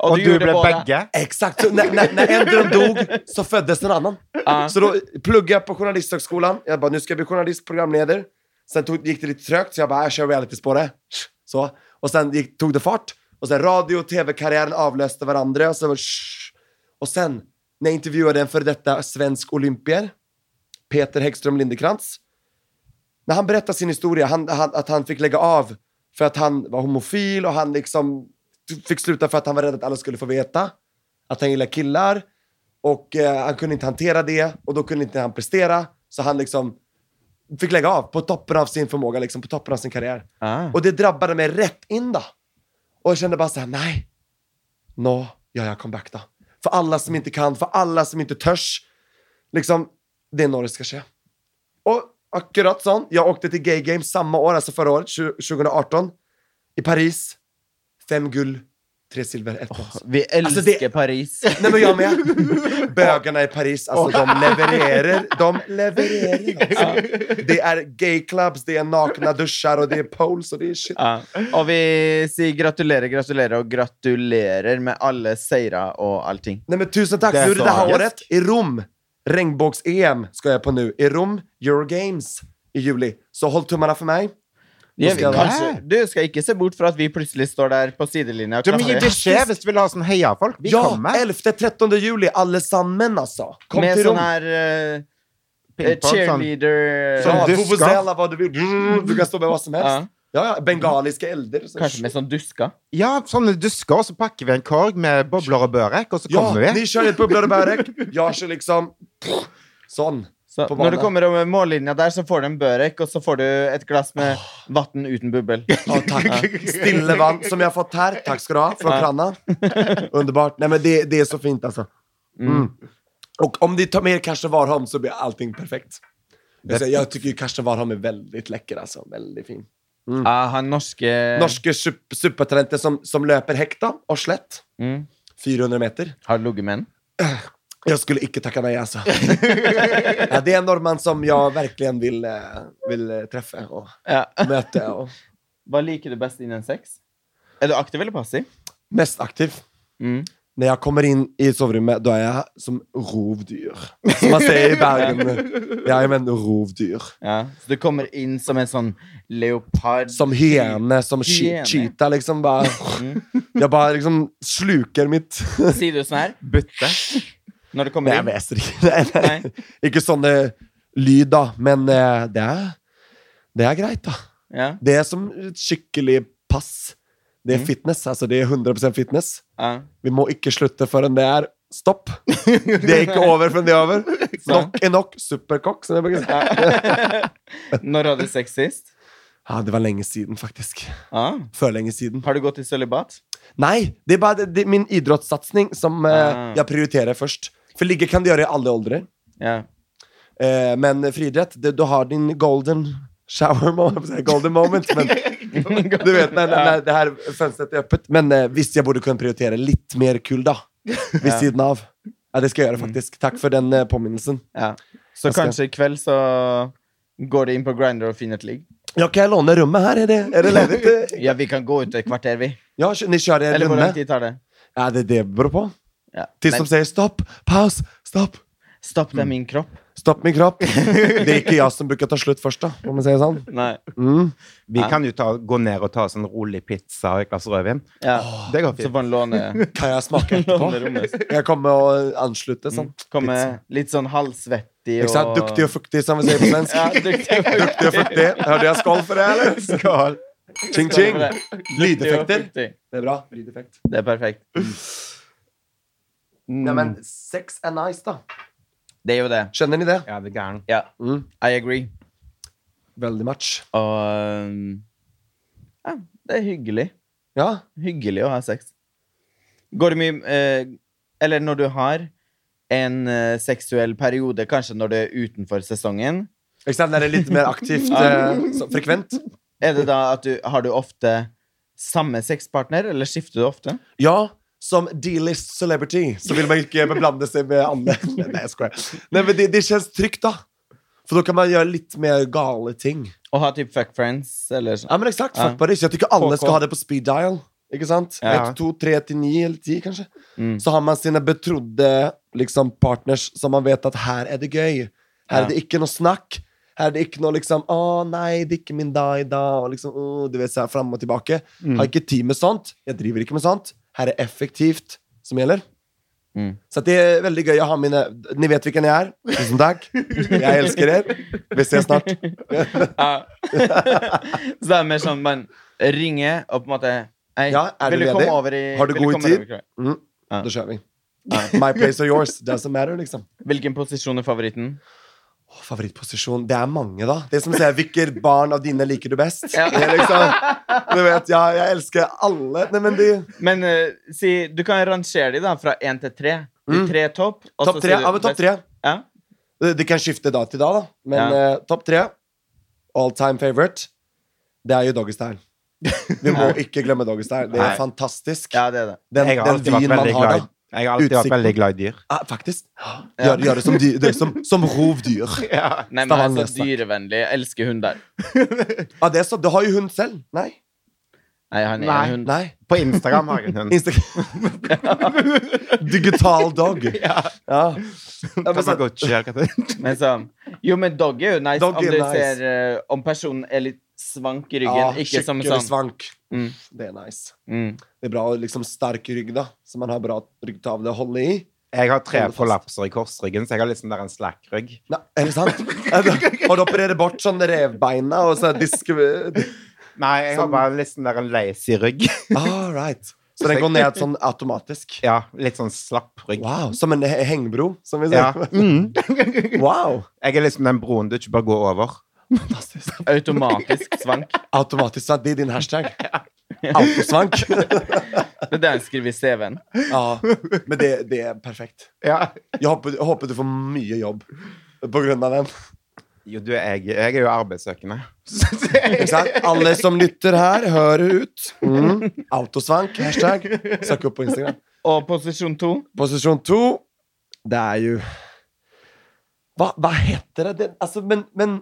S2: Og, du
S1: gjorde
S2: ble
S1: både-
S2: begge.
S3: Exakt, så när, när, när en dröm dog så föddes en annan.
S1: Ja.
S3: Så då pluggade jag på Journalisthögskolan. Jag bara, nu ska jag bli journalist, programledare. Sen tog, gick det lite trögt, så jag bara, "Äh, jag kör realityspåret. Så. Och sen gick, tog det fart. Och sen radio och tv-karriären avlöste varandra. Och, så, och sen, när jag intervjuade en före detta svensk olympier, Peter Häggström Lindekrantz. När han berättar sin historia, han, han, att han fick lägga av för att han var homofil och han liksom fick sluta för att han var rädd att alla skulle få veta att han gillar killar. Och eh, han kunde inte hantera det och då kunde inte han prestera. Så han liksom fick lägga av på toppen av sin förmåga, liksom, på toppen av sin karriär.
S1: Ah.
S3: Och det drabbade mig rätt in då. Och jag kände bara så här, nej. Nå, gör jag comeback då. För alla som inte kan, för alla som inte törs. Liksom, det är nå det ska ske. Och akkurat sån, jag åkte till Gay Games samma år, alltså förra året, 20- 2018. I Paris. Fem guld, tre silver, ett brons.
S1: Vi elsker
S3: Altså, det-
S1: Paris.
S3: Nej men jag med. [laughs] Bögarna i Paris, alltså de levererar. De [laughs] altså. levererar alltså. Det är gayclubs, det är nakna duschar og det är poles och det är shit.
S1: Ja. Ah. Og vi sier gratulerer, gratulerer og gratulerer med alle seire og allting.
S3: Nej men tusen tack.
S2: Det är
S3: Nu är det det här
S2: tragiskt.
S3: året i Rom. Regnbågs-EM ska jag på nu. I Rom, Eurogames i juli. Så håll tummarna för mig.
S1: Ja,
S3: skal
S1: vi-
S2: det-
S1: kanskje, du skal ikke se bort fra at vi plutselig står der på sidelinja og
S2: Du må gi
S1: klapper.
S2: beskjed hvis du vil ha sånn heiafolk. Vi
S3: ja,
S2: kommer.
S3: 11-13 juli, allesammen alltså. Kom
S1: Med
S3: till Rom.
S1: sånn her eh, eh,
S2: Ping-pong, sånn.
S1: cheerleader
S2: Sånn
S3: Ja,
S2: du ska.
S3: vuvuzela, vad du vill. Du kan stå med vad som helst.
S1: Ja.
S3: Ja, ja, bengaliska elder. Så-
S1: Kanskje med sånn dusker.
S2: Ja, sånne dusker, og så pakker vi en korg med bobler og børek, og så
S3: Ja,
S2: kommer vi.
S3: ni kör ett bubblare börek. Jag kör liksom... sånn. Sån.
S1: Så
S3: På
S1: når du
S3: banen.
S1: kommer over mållinja der, så får du en børek, og så får du et glass med vann uten bubbel.
S3: Ja, tack. Stillevann som jag har fått här. Tack ska du ha, från
S1: Ja.
S3: Kranna. Underbart. Nej, men det, det är så fint alltså. Mm. Och om ni tar med er Karsten Warholm så blir allting perfekt. Jag, säger, jag tycker ju Karsten Warholm är väldigt läcker alltså. Väldigt altså. fin.
S1: Ja, han norske
S3: Norske sup- supertalenter som, som löper hekta och slätt.
S1: Mm.
S3: 400 meter.
S1: har ligget med han.
S3: Jag skulle icke tacka nej alltså. altså. ja, det är en norrman som jag verkligen vill, eh, vill eh, träffa och
S1: Ja.
S3: möta. Och
S1: Hva liker du best innen sex? Er du aktiv eller passiv?
S3: mest aktiv.
S1: Mm.
S3: När jag kommer in i sovrummet, då är jag som rovdyr. Som man säger
S1: [laughs]
S3: i Bergen. Jag är en rovdyr.
S1: Ja. Så du kommer inn som en sånn leopard?
S3: Som hyene, som
S1: Hyene. Mm.
S3: che cheetah liksom bara... Jag bara liksom slukar mitt...
S1: Sier du sånn her
S2: Bytte.
S1: når du
S3: Nej,
S1: kommer
S3: jag
S1: inn?
S3: väser [laughs] inte. Nej, nej.
S1: Nei?
S3: Inte sån eh, lyd då, men eh, det är, det är grejt då.
S1: Ja.
S3: Det är som ett skicklig pass. Det är
S1: Mm.
S3: fitness, alltså det är 100% fitness.
S1: ja.
S3: [laughs] Vi må ikke slutte før det er stopp. Det er ikke over før det er over. Nok er nok. Superkokk, som jeg bruker å si.
S1: Når hadde du sex sist?
S3: Ja, det var lenge siden, faktisk.
S1: Ja.
S3: Før lenge siden.
S1: Har du gått i sølibat?
S3: Nei, det er bare det, det, er min idrettssatsing som eh,
S1: Ah.
S3: jeg prioriterer først. For ligge kan du gjøre i alle aldre.
S1: Ja.
S3: Eh, men friidrett, det- du har din golden shower [laughs] moment. Golden moment
S1: [laughs]
S3: men [laughs] du vet, nei, nei, nei, det her fönstret er åpent. Men eh, hvis jeg burde kunne prioritere litt mer kull, da. Ved
S1: Ja.
S3: siden av. Ja, det skal jeg gjøre, faktisk. Takk for den eh, påminnelsen.
S1: Ja. Så
S3: Jeg skal-
S1: kanskje i kveld så går du inn på Grindr og finner et ligg?
S3: Ja, kan jeg låne rommet her? Er det, er det
S1: [laughs]
S3: ledig?
S1: Ja, vi kan gå ut et kvarter, vi.
S3: Ja, kjø- ni kjører en
S1: Eller hvor
S3: runde?
S1: lang tid tar det?
S3: Ja, det er det det beror på.
S1: Ja.
S3: Til
S1: Nei,
S3: som sier stopp, paus, stopp.
S1: Stopp, det er min kropp.
S3: Stopp min kropp. Det er ikke jeg som bruker å ta slutt først, da, om man sier det sånn.
S1: Nei.
S3: Mm.
S2: Vi
S1: Ja.
S2: kan jo ta, gå ned og ta sånn rolig pizza og et glass rødvin.
S1: Ja.
S2: Det går
S1: Så
S2: fint.
S1: får han låne,
S3: [laughs] Kan jeg smake etterpå?
S1: låne rommet.
S3: [laughs] Jeg kommer og anslutter sånn.
S1: Komme litt sånn halvsvettig
S3: Ikke sant? Duktig og fuktig, som vi sier på svensk.
S1: [laughs] Ja,
S3: [laughs]
S1: duktig og
S3: Duktig og fuktig. Hørte jeg skål for det, eller?
S2: Skål.
S3: Ching,
S1: Skål
S3: ching.
S1: for det. Duktig og
S3: Lydeffekter.
S1: fuktig.
S3: Det er bra. Lydeffekt.
S1: Det er perfekt.
S3: Ja,
S1: Mm.
S3: men sex er nice, da.
S1: Det er jo det.
S3: Skjønner ni det?
S2: Ja, det er gæren.
S1: Ja.
S3: Mm.
S1: I agree.
S3: Veldig much.
S1: Og um, ja, det er hyggelig.
S3: Ja.
S1: Hyggelig å ha sex. Går det mye eh, Eller når du har en eh, seksuell periode, kanskje når det er utenfor sesongen,
S3: Ikke sant? Det er litt mer aktivt eh, så, frekvent.
S1: er det da at du har du ofte samme sexpartner, eller skifter du ofte?
S3: Ja, som D-list celebrity så vil man ikke beblande seg med andre. [laughs] Nei, jeg skoer. Nei, men det, det kjennes trygt, da. For da kan man gjøre litt mer gale ting.
S1: Å ha typ fuck friends, eller
S3: [laughs]
S1: sånn?
S3: Ja, men eksakt, fuck
S1: Ja.
S3: på det. Jeg tykker alle
S2: KK.
S3: skal ha det på speed dial. Ikke sant?
S1: Ja.
S3: Ett, to, tre til ni eller ti, kanskje.
S1: Mm.
S3: Så har man sine betrodde liksom, partners som man vet at her er det gøy. Her
S1: Ja.
S3: er det ikke noe snakk. Her er det ikke noe liksom 'Å nei, det er ikke min dag i dag', og liksom «Åh», Du vet, så her fram og tilbake.
S1: Mm.
S3: Har ikke tid med sånt. Jeg driver ikke med sånt. Her er effektivt som gjelder.
S1: Mm.
S3: Så det er veldig gøy å ha mine Dere vet hvem jeg er. Tusen takk. Jeg elsker dere. Vi ses snart.
S1: [laughs] Ja. så det er mer sånn man ringer og på en måte Hei,
S3: Ja, er
S1: vil
S3: du
S1: du komme
S3: ledig?
S1: over i
S3: Har du
S1: vil
S3: god
S1: komme
S3: tid?
S1: over i-
S3: Mm.
S1: Ja.
S3: Da kjører vi. [laughs] My place or yours. Doesn't matter, liksom.
S1: Hvilken posisjon er favoritten?
S3: Åh, favorittposisjon Det er mange, da. Det er som å si hvilke barn av dine liker du best.
S1: Ja.
S3: Det er liksom, du vet, ja, jeg elsker alle. Nei, men de
S1: Men eh, si, du kan rangere dem da fra én til tre. De
S3: Mm.
S1: tre er topp. og så
S3: Topp tre.
S1: sier du
S3: Ja, men topp
S1: best-
S3: tre.
S1: Ja.
S3: Det det kan skifte da til da, da. Men
S1: Ja.
S3: eh, topp tre, all time favorite, det er jo Doggystyle. Vi må ikke glemme Doggystyle. Det er
S2: Nei.
S3: fantastisk.
S1: ja, det er det.
S3: Den,
S2: Jeg har
S3: den
S2: alltid vært
S3: vyen man
S2: veldig
S3: har
S2: glad
S3: da.
S2: i Jeg har alltid vært
S3: Utsikten.
S2: veldig glad i
S3: [laughs]
S2: dyr.
S3: Ah, faktisk. Gjør, gjør det som, dy- det er som, som rovdyr.
S1: Nei, men
S3: Stavanger
S1: altså,
S3: snakker.
S1: dyrevennlig. Jeg elsker hund der.
S3: Ah, det, er så, det har jo hun selv. Nei.
S1: Nei, han er
S2: Nei.
S1: en hund.
S3: Nei.
S2: På Instagram har jeg
S3: [laughs]
S2: en hund.
S3: Instagram. Digital dog. Ja. ja. men så-
S2: Tamagotchi, eller hva det heter.
S1: Men så, jo, men dog er jo nice
S3: Dog
S1: om
S3: er
S1: du
S3: nice.
S1: ser eh, Om personen er litt svank i ryggen.
S3: Ja,
S1: ikke som
S3: skikkelig
S1: sånn
S3: svank.
S1: Mm.
S3: Det er nice.
S1: Mm.
S3: Det er bra å liksom sterk rygg, da. Så man har bra ryggtavle å holde i.
S2: Jeg har tre
S3: Hold fast.
S2: prolapser i korsryggen, så jeg har liksom der en slackrygg.
S3: Nei, er det sant? Er det- Og du opererer bort sånn revbeina og så diske...
S2: Nei, jeg har
S3: Sånn.
S2: bare liksom der en lazy rygg.
S3: All right. Så den går ned sånn automatisk.
S2: [laughs] Ja, litt sånn slapp rygg.
S3: Wow. Som en he- hengbro, som vi
S2: Ja.
S3: sier.
S2: Mm.
S3: Wow.
S2: Jeg er liksom den broen du ikke bør gå over.
S3: Fantastisk.
S1: Automatisk
S3: [laughs]
S1: svank.
S3: Automatisk svank. Det er din hashtag. Autosvank.
S1: Det er det han skriver i CV-en.
S2: [laughs]
S3: Ja. Men det, det er perfekt.
S2: Ja.
S3: Jeg håper, jeg håper du får mye jobb på grunn av den.
S2: Jo, du, jeg, jeg er jo arbeidssøkende.
S3: Ikke sant? Alle som
S2: [laughs]
S3: lytter her, hør ut. Mm. Autosvank, hashtag. Søk opp på Instagram.
S1: Og posisjon to
S3: Posisjon to, det er jo Hva, hva heter det? det altså, men, men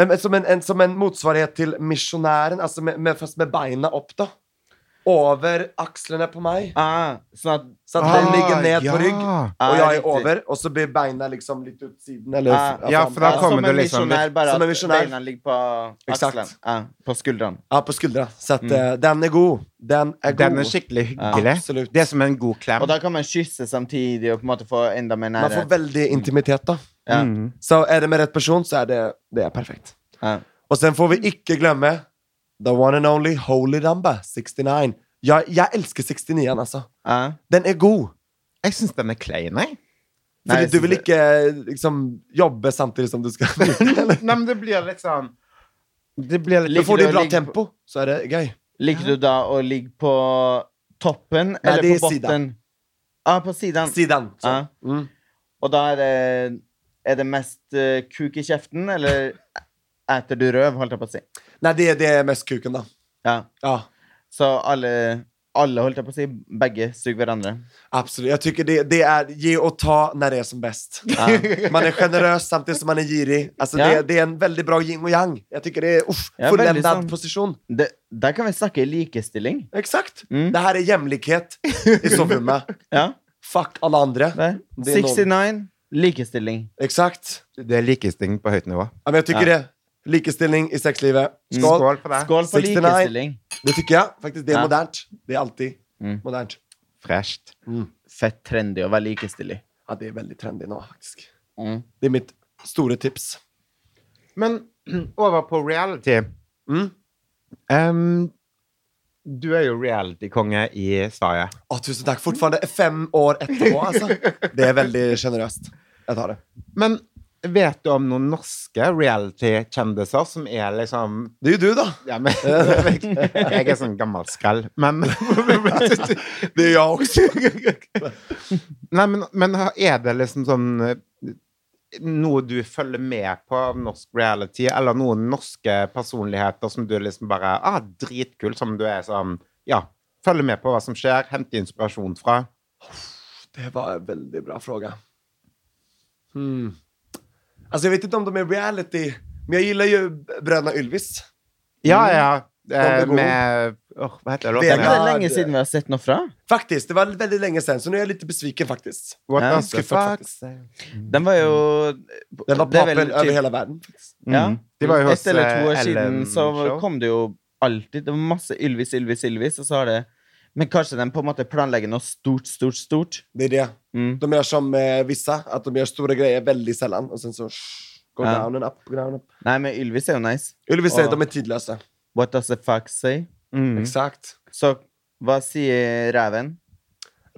S3: Em, som, en, en, som en motsvarighet til misjonæren, altså med, med, først med beina opp, da. Over akslene på meg.
S1: ah, Sånn at
S3: Så at den ligger ned
S2: Ah,
S3: på rygg,
S2: ja.
S1: Ah,
S3: og jeg
S1: riktig.
S3: er over, og så blir beina liksom litt ut siden. Eller, altså,
S1: Ah,
S2: ja, for da
S1: Ja,
S2: kommer
S1: som
S2: det
S1: en
S2: liksom litt-
S1: misjonær, bare
S3: Som en
S1: at
S3: misjonær.
S1: beina ligger på
S3: Exakt.
S1: akselen. Ja, på skuldrene.
S3: Ja, på skuldra. Så at, eh, den er god. Den er god.
S2: Den er skikkelig hyggelig.
S3: Absolutt.
S2: Det er som en god klem.
S1: Og da kan man kysse samtidig og på en måte få enda mer
S3: Man får
S1: nærhet.
S3: veldig intimitet, da.
S1: Ja.
S2: Mm.
S3: Så er det med rett person, så er det, det er perfekt.
S1: Ja.
S3: Og sen får vi ikke glemme the one and only Holy Damba, 69. Jeg, jeg elsker 69-en, altså.
S1: Ja.
S3: [laughs] Den er god.
S2: Jeg syns den er klein, jeg.
S1: Nei,
S3: Fordi
S1: jeg
S3: du
S1: synes
S3: vil
S1: det-
S3: ikke liksom, jobbe samtidig som du skal
S2: Nei, men det blir litt
S3: liksom-
S2: sånn Det blir litt
S3: Da får du
S1: å
S3: bra
S1: ligge på-
S3: tempo, så er det gøy.
S1: Liker du da å ligge på toppen eller
S3: det
S1: på
S3: er siden.
S1: bunnen? Ja, på siden.
S3: Siden. Så.
S1: Ja.
S3: Mm.
S1: Og da er det Er det mest eh, kuk i kjeften, eller eter du røv, holdt jeg på å si.
S3: Nei, det, det er mest kuken, da.
S1: Ja.
S3: Ja,
S1: Så alle, alle holdt jeg på å si, begge suger hverandre.
S3: absolutt. Jeg tykker det, det er gi og ta når det er som best. [laughs] Man er generøs samtidig som man er girig. Altså,
S1: Ja.
S3: det, det er en veldig bra yin og yang. Jeg tykker det er uff,
S1: Ja, veldig
S3: fullendet
S1: sånn.
S3: posisjon.
S1: Det, der kan vi snakke likestilling.
S3: Eksakt.
S1: Mm.
S3: Det her er hjemlikhet i soverommet.
S1: Ja,
S3: Fuck alle andre.
S1: det.
S3: Det er
S1: 69.
S3: noen-
S1: Likestilling.
S3: Exakt.
S2: Det er likestilling på høyt nivå.
S3: Ja, men jag tycker
S1: Ja. Mm,
S3: det. Likestilling i sexlivet. Skål.
S2: Skål for det.
S1: Skål for
S3: 69.
S1: likestilling.
S3: Det tycker jag faktiskt. Det är
S1: Ja.
S3: modernt. Det är alltid
S1: Mm.
S3: modernt. Mm.
S2: Fresht.
S1: Fett trendy å være likestilling.
S3: Ja, det är väldigt trendigt nu faktiskt.
S1: Mm.
S3: Det är mitt stora tips.
S2: Men [clears throat] over på reality.
S3: Mm.
S2: Ehm, du er jo reality-konge i Sverige.
S3: Åh, tusen tack. Fortfarande fem år etterpå alltså. Det är väldigt generöst. Jag tar det.
S2: Men vet du om noen norske reality-kjendiser som er liksom
S3: Det är ju du då.
S2: ja, men, Jeg er sånn gammel skrell, men
S3: Det är jag också.
S2: Nei, men, men er det liksom sånn eh, noe du følger med på av norsk reality, eller noen norske personligheter som du liksom bare ah, Dritkul, som du er sånn Ja, følger med på hva som skjer, henter inspirasjon fra.
S3: [laughs] Det var en väldigt bra fråga. Hmm. Alltså jag vet inte om de är reality, men jag gillar ju Bröderna Ylvis.
S2: Ja, ja. eh,
S3: Mm. Kom det
S2: Med åh, Hva heter det?
S1: Det
S3: Vega.
S2: låten?
S1: er
S2: igjen?
S3: Ja,
S1: lenge
S3: det-
S1: siden vi har sett noe fra.
S3: Faktiskt, det var väldigt länge sedan, så nu är jag lite besviken faktiskt.
S2: What
S1: Ja,
S2: does the
S3: skuffet
S2: fuck?
S3: faktisk.
S1: Den var jo
S3: Den var
S1: Det er vel
S3: poppen
S1: typ-
S3: över hela världen. faktiskt.
S1: Ja.
S2: De var jo hos
S1: Et eller to år
S2: eh,
S1: siden
S2: Ellen
S1: så
S2: Show.
S1: kom det jo alltid Det var masse Ylvis, Ylvis, Ylvis, og så har det Men kanskje de på en måte planlegger noe stort, stort, stort.
S3: Det är det.
S1: Mm.
S3: De gör som eh, vissa, att de gör stora grejer väldigt sällan och sen så shh, går
S1: Ja.
S3: down and up, down and up.
S1: Nei, men Ylvis er jo nice.
S3: Ylvis säger att
S1: Ja.
S3: de är tidlösa.
S1: What does the fuck say?
S2: Mm.
S3: Exakt.
S1: Så hva sier reven?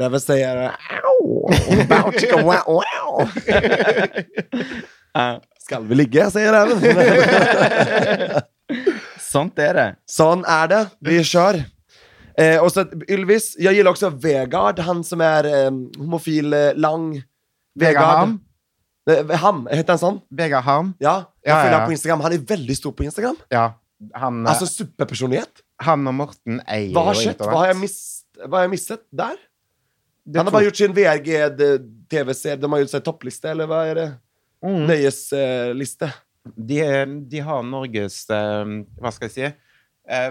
S3: Räven säger "Au, bow, chicka, wow,
S1: [laughs]
S3: wow."
S1: Ja,
S3: Skall vi ligga,
S2: [laughs]
S3: säger räven.
S1: sånt er det.
S3: Sånn er det. Vi kjør. Eh, og så Ylvis. Jeg gillar også Vegard, han som er eh, homofil, eh, lang
S2: Vegard Harm.
S3: Eh, Ham, heter han sånn?
S2: Vegard Harm.
S3: Ja. Jeg
S2: Ja, ja,
S3: følger
S2: ja.
S3: ham på Instagram. Han er veldig stor på Instagram.
S2: Ja. Han, eh,
S3: Altså superpersonlighet.
S2: han og Morten eier
S3: Hva har
S2: jo
S3: skjedd?
S2: internett.
S3: Hva har jeg, mist, hva har jeg mistet der?
S2: Det
S3: Han har
S2: tok-
S3: bare gjort sin VRG-TV-serie. De har gjort seg toppliste, eller hva er det? eh,
S2: Mm.
S3: Nøyesliste.
S2: de, de har Norges eh, Hva skal jeg si eh,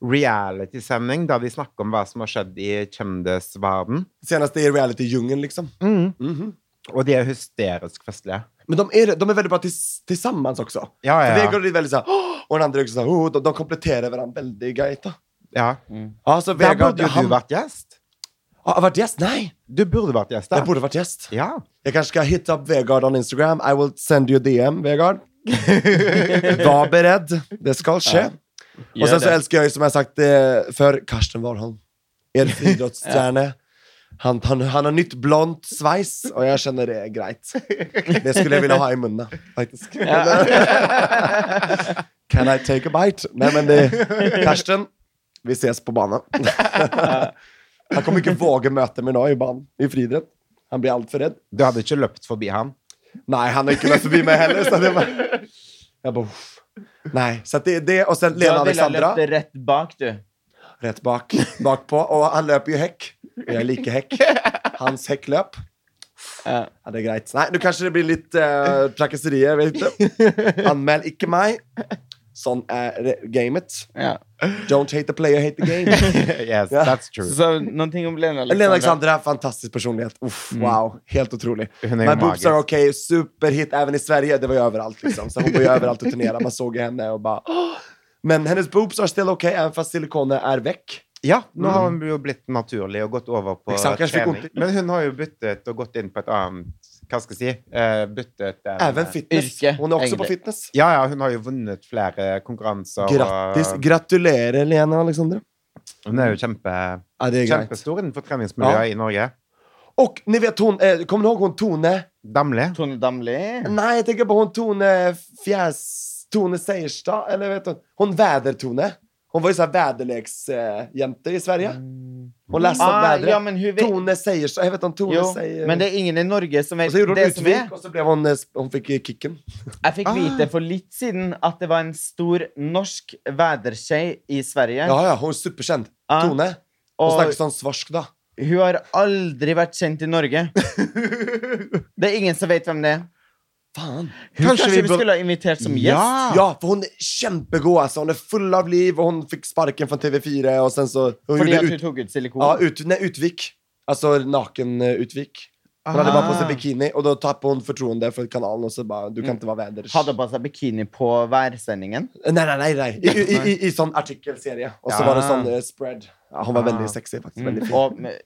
S2: Reality-sending der de snakker om hva som har skjedd i kjendisverden.
S3: Senest i reality-jungelen, liksom.
S2: Mm.
S3: Mhm.
S2: Og de er hysterisk festlige.
S3: Men de er, de er veldig bra tills- til sammen også.
S2: Ja,
S3: For
S2: ja,
S3: Vegard blir veldig sånn «Åh!» Og den andre er også sånn «Åh!» de, de kompletterer hverandre veldig greit. da
S2: ja.
S3: Altså,
S2: Der
S3: Vegard
S2: burde jo
S3: han-
S2: du vært gjest.
S3: Ah, har vært gjest? Nei!
S2: Du burde vært gjest.
S3: Jeg
S2: Da.
S3: burde vært gjest.
S2: Ja.
S3: Jeg kanskje skal hitte opp Vegard on Instagram. I will send you a
S2: [laughs]
S3: DM, Vegard. Var beredt. Det skal skje. Og sen så elsker jeg, som jeg har sagt eh, før, Karsten Warholm.
S2: [laughs]
S3: Er friidrettsstjerne. Han, han, han har nytt blondt sveis, og jeg kjenner det er greit. Det skulle jeg ville ha i munnen, faktisk.
S1: [laughs]
S3: Can I take a bite? Nei, men det, Karsten, vi ses på [laughs] banen. Han kommer ikke våge møte meg nå i banen, i friidrett. Han blir altfor redd.
S2: Du hadde ikke løpt forbi han. [laughs]
S3: Nei, han har ikke vært forbi meg heller. Så det var... Jeg bare, uff. Nei, så at det er det. Og så
S1: Da
S3: Lena
S1: ville jeg
S3: Alexandra
S1: løpt rett bak, du.
S3: rett bak, bakpå. Og han løper jo hekk. Og jeg liker hekk. Hans hekkløp.
S1: Ja.
S3: Ja, det er greit. Nei, nå kanskje det blir litt eh, trakasserier. Jeg vet ikke. Anmeld ikke meg. Sånn er det- gamet.
S1: Ja.
S3: Don't hate the player, hate the game.
S2: yes,
S3: Ja.
S2: that's
S1: Så,
S2: true.
S1: så noen ting om Lene
S3: Lena
S1: Alexandra.
S3: Alexandra, fantastisk personlighet. Uff, wow, Helt utrolig.
S2: Hun er jo
S3: Men boobs are
S2: magisk.
S3: okay, superhit även i Sverige. Det var ju överallt liksom. Så hon var ju överallt och turnerade. Man såg henne och bara... "Åh." Men hennes boobs are still okay, även fast silikonet är väck.
S2: Ja, nå har hun jo blitt naturlig og gått over på
S3: Exakt, kanskje fikk
S2: trening.
S3: vondt
S2: Men hun har jo byttet og gått inn på et annet Hva skal jeg si? Eh, byttet en-
S3: Även fitness.
S1: Yrke,
S3: Hon är också på
S1: egentlig.
S3: fitness.
S2: Ja, ja, hun har jo vunnet flere konkurranser. og-
S3: Grattis. Gratulerer, Lena Alexandra.
S2: Hun er jo kjempe,
S3: Ja, det är grejt.
S2: kjempestor innenfor treningsmiljøet i Norge.
S3: Och ni vet hon, eh, kommer ni ihåg hon Tone?
S2: Damli.
S1: Tone Damli.
S3: Nej, jag tänker på hon Tone Fjäs... Tone Seierstad, eller vet hon? Hon Väder-Tone. Hon var ju såhär väderleksjänte i Sverige. Hon läste om
S1: Ah,
S3: vädret.
S1: ja, men hur vet-
S3: Tone Seierstad, jag vet om Tone
S1: Jo,
S3: Seierstad.
S1: men det er ingen i Norge som
S3: eh, Og
S1: vet
S3: så gjorde
S1: det
S3: hun
S1: som er.
S3: utvik, og så ble hun, eh, sp- hun fikk eh, kicken.
S1: Jeg fikk
S2: Ah.
S1: vite for litt siden at det var en stor norsk væderskje i Sverige.
S3: Ja, ja, hun er superkjent.
S1: Ja.
S3: Tone. Hun
S1: Ah. Og-
S3: snakker sånn svarsk, da.
S1: Hun har aldri vært kjent i
S3: [laughs]
S1: Norge. Det er ingen som vet hvem det er.
S3: Faen.
S1: Hun,
S2: Kanskje
S1: kanskje,
S2: vi
S1: vi
S2: bør-
S1: skulle ha invitert som gjest?
S2: Ja.
S3: Ja, for hun er kjempegod. Altså. Hun er full av liv, og hun fikk sparken fra TV4. Og sen så, hun
S1: Fordi
S3: gjorde
S1: at hun
S3: ut,
S1: tok ut silikon?
S3: ja, ut, nei, utvik. Altså naken-utvik. Hon hade bara på sig
S1: Ah. Mm.
S3: bikini och då tappade hon förtroende för kanalen och så bara, du kan inte vara väders.
S1: Hadde på seg bikini på værsendingen.
S3: Nej, nej, nej, nej.
S1: [laughs]
S3: I, i, i, i sån artikelserie. Och så
S2: Ja.
S3: var det sån eh, spread. Ja, hon var
S2: Ah.
S3: väldigt sexig faktiskt.
S1: Mm.
S3: Väldigt fin.
S1: Og med-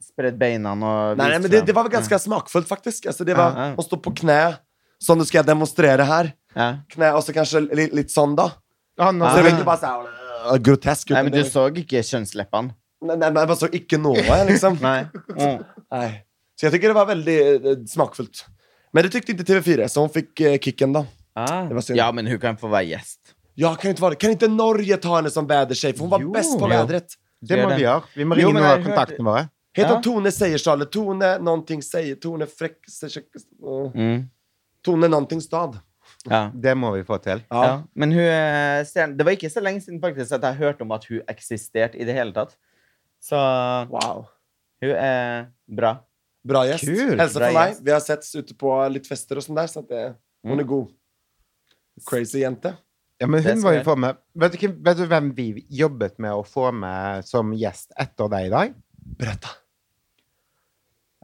S1: spredd beina og
S3: Nej, nej,
S1: vist
S3: men det,
S1: frem.
S3: det var väl ganska
S1: Mm.
S3: smakfullt faktiskt. Alltså, det var,
S1: Ja, ja.
S3: Hon stod på knä. Sånn, nu ska jag demonstrera här.
S1: ja.
S3: Knä och så kanske li, lite sån då.
S2: Han
S3: Så
S1: Ah.
S3: det var inte bara såhär grotesk.
S1: Nei,
S3: utan
S1: men
S3: det
S1: du
S3: var-
S1: så ikke kjønnsleppene.
S3: Nej, nej, men jag såg icke något liksom.
S1: [laughs] Nei. Mm.
S3: Nej. Så jag tycker det var väldigt eh, smakfullt. Men det tyckte inte TV4, så hon fick eh, kicken då. [laughs] Det var synd.
S1: Ja, men hun kan få være gjest.
S3: Ja, kan inte vara det. Kan inte Norge ta henne som vädertjej? För hon var
S1: Jo.
S3: bäst på
S1: Jo.
S3: vädret.
S2: Det må
S1: Gjør det.
S2: vi gjøre. Vi må
S1: Jo,
S2: ringe
S1: men
S2: noen av
S1: jeg hørte-
S2: kontaktene våre.
S3: Heter
S1: Ja.
S3: hon Tone Seierstalle? Tone någonting säger Tone Fräck... Seierstalle-
S1: Mm.
S3: Tone någonting stad.
S1: Ja.
S2: Det må vi få til.
S1: Ja.
S3: Ja.
S1: Men hun eh, stjerne- Det var ikke så lenge siden faktisk at jeg hørte om at hun eksisterte i det hele tatt. Så
S3: Wow.
S1: hun er bra.
S3: Bra gäst.
S2: Kul.
S3: Hälsa
S1: Bra
S3: från mig.
S1: gäst. Mm.
S3: Vi har setts ute på lite fester och sånt där. Så att det, hon är god. Crazy jente.
S2: Ja, men
S1: Det
S2: hun
S1: skal
S2: var jo
S1: jeg.
S2: for med. Vet, du, hvem- vet du hvem vi jobbet med å få med som gjest etter deg i dag?
S3: Berätta.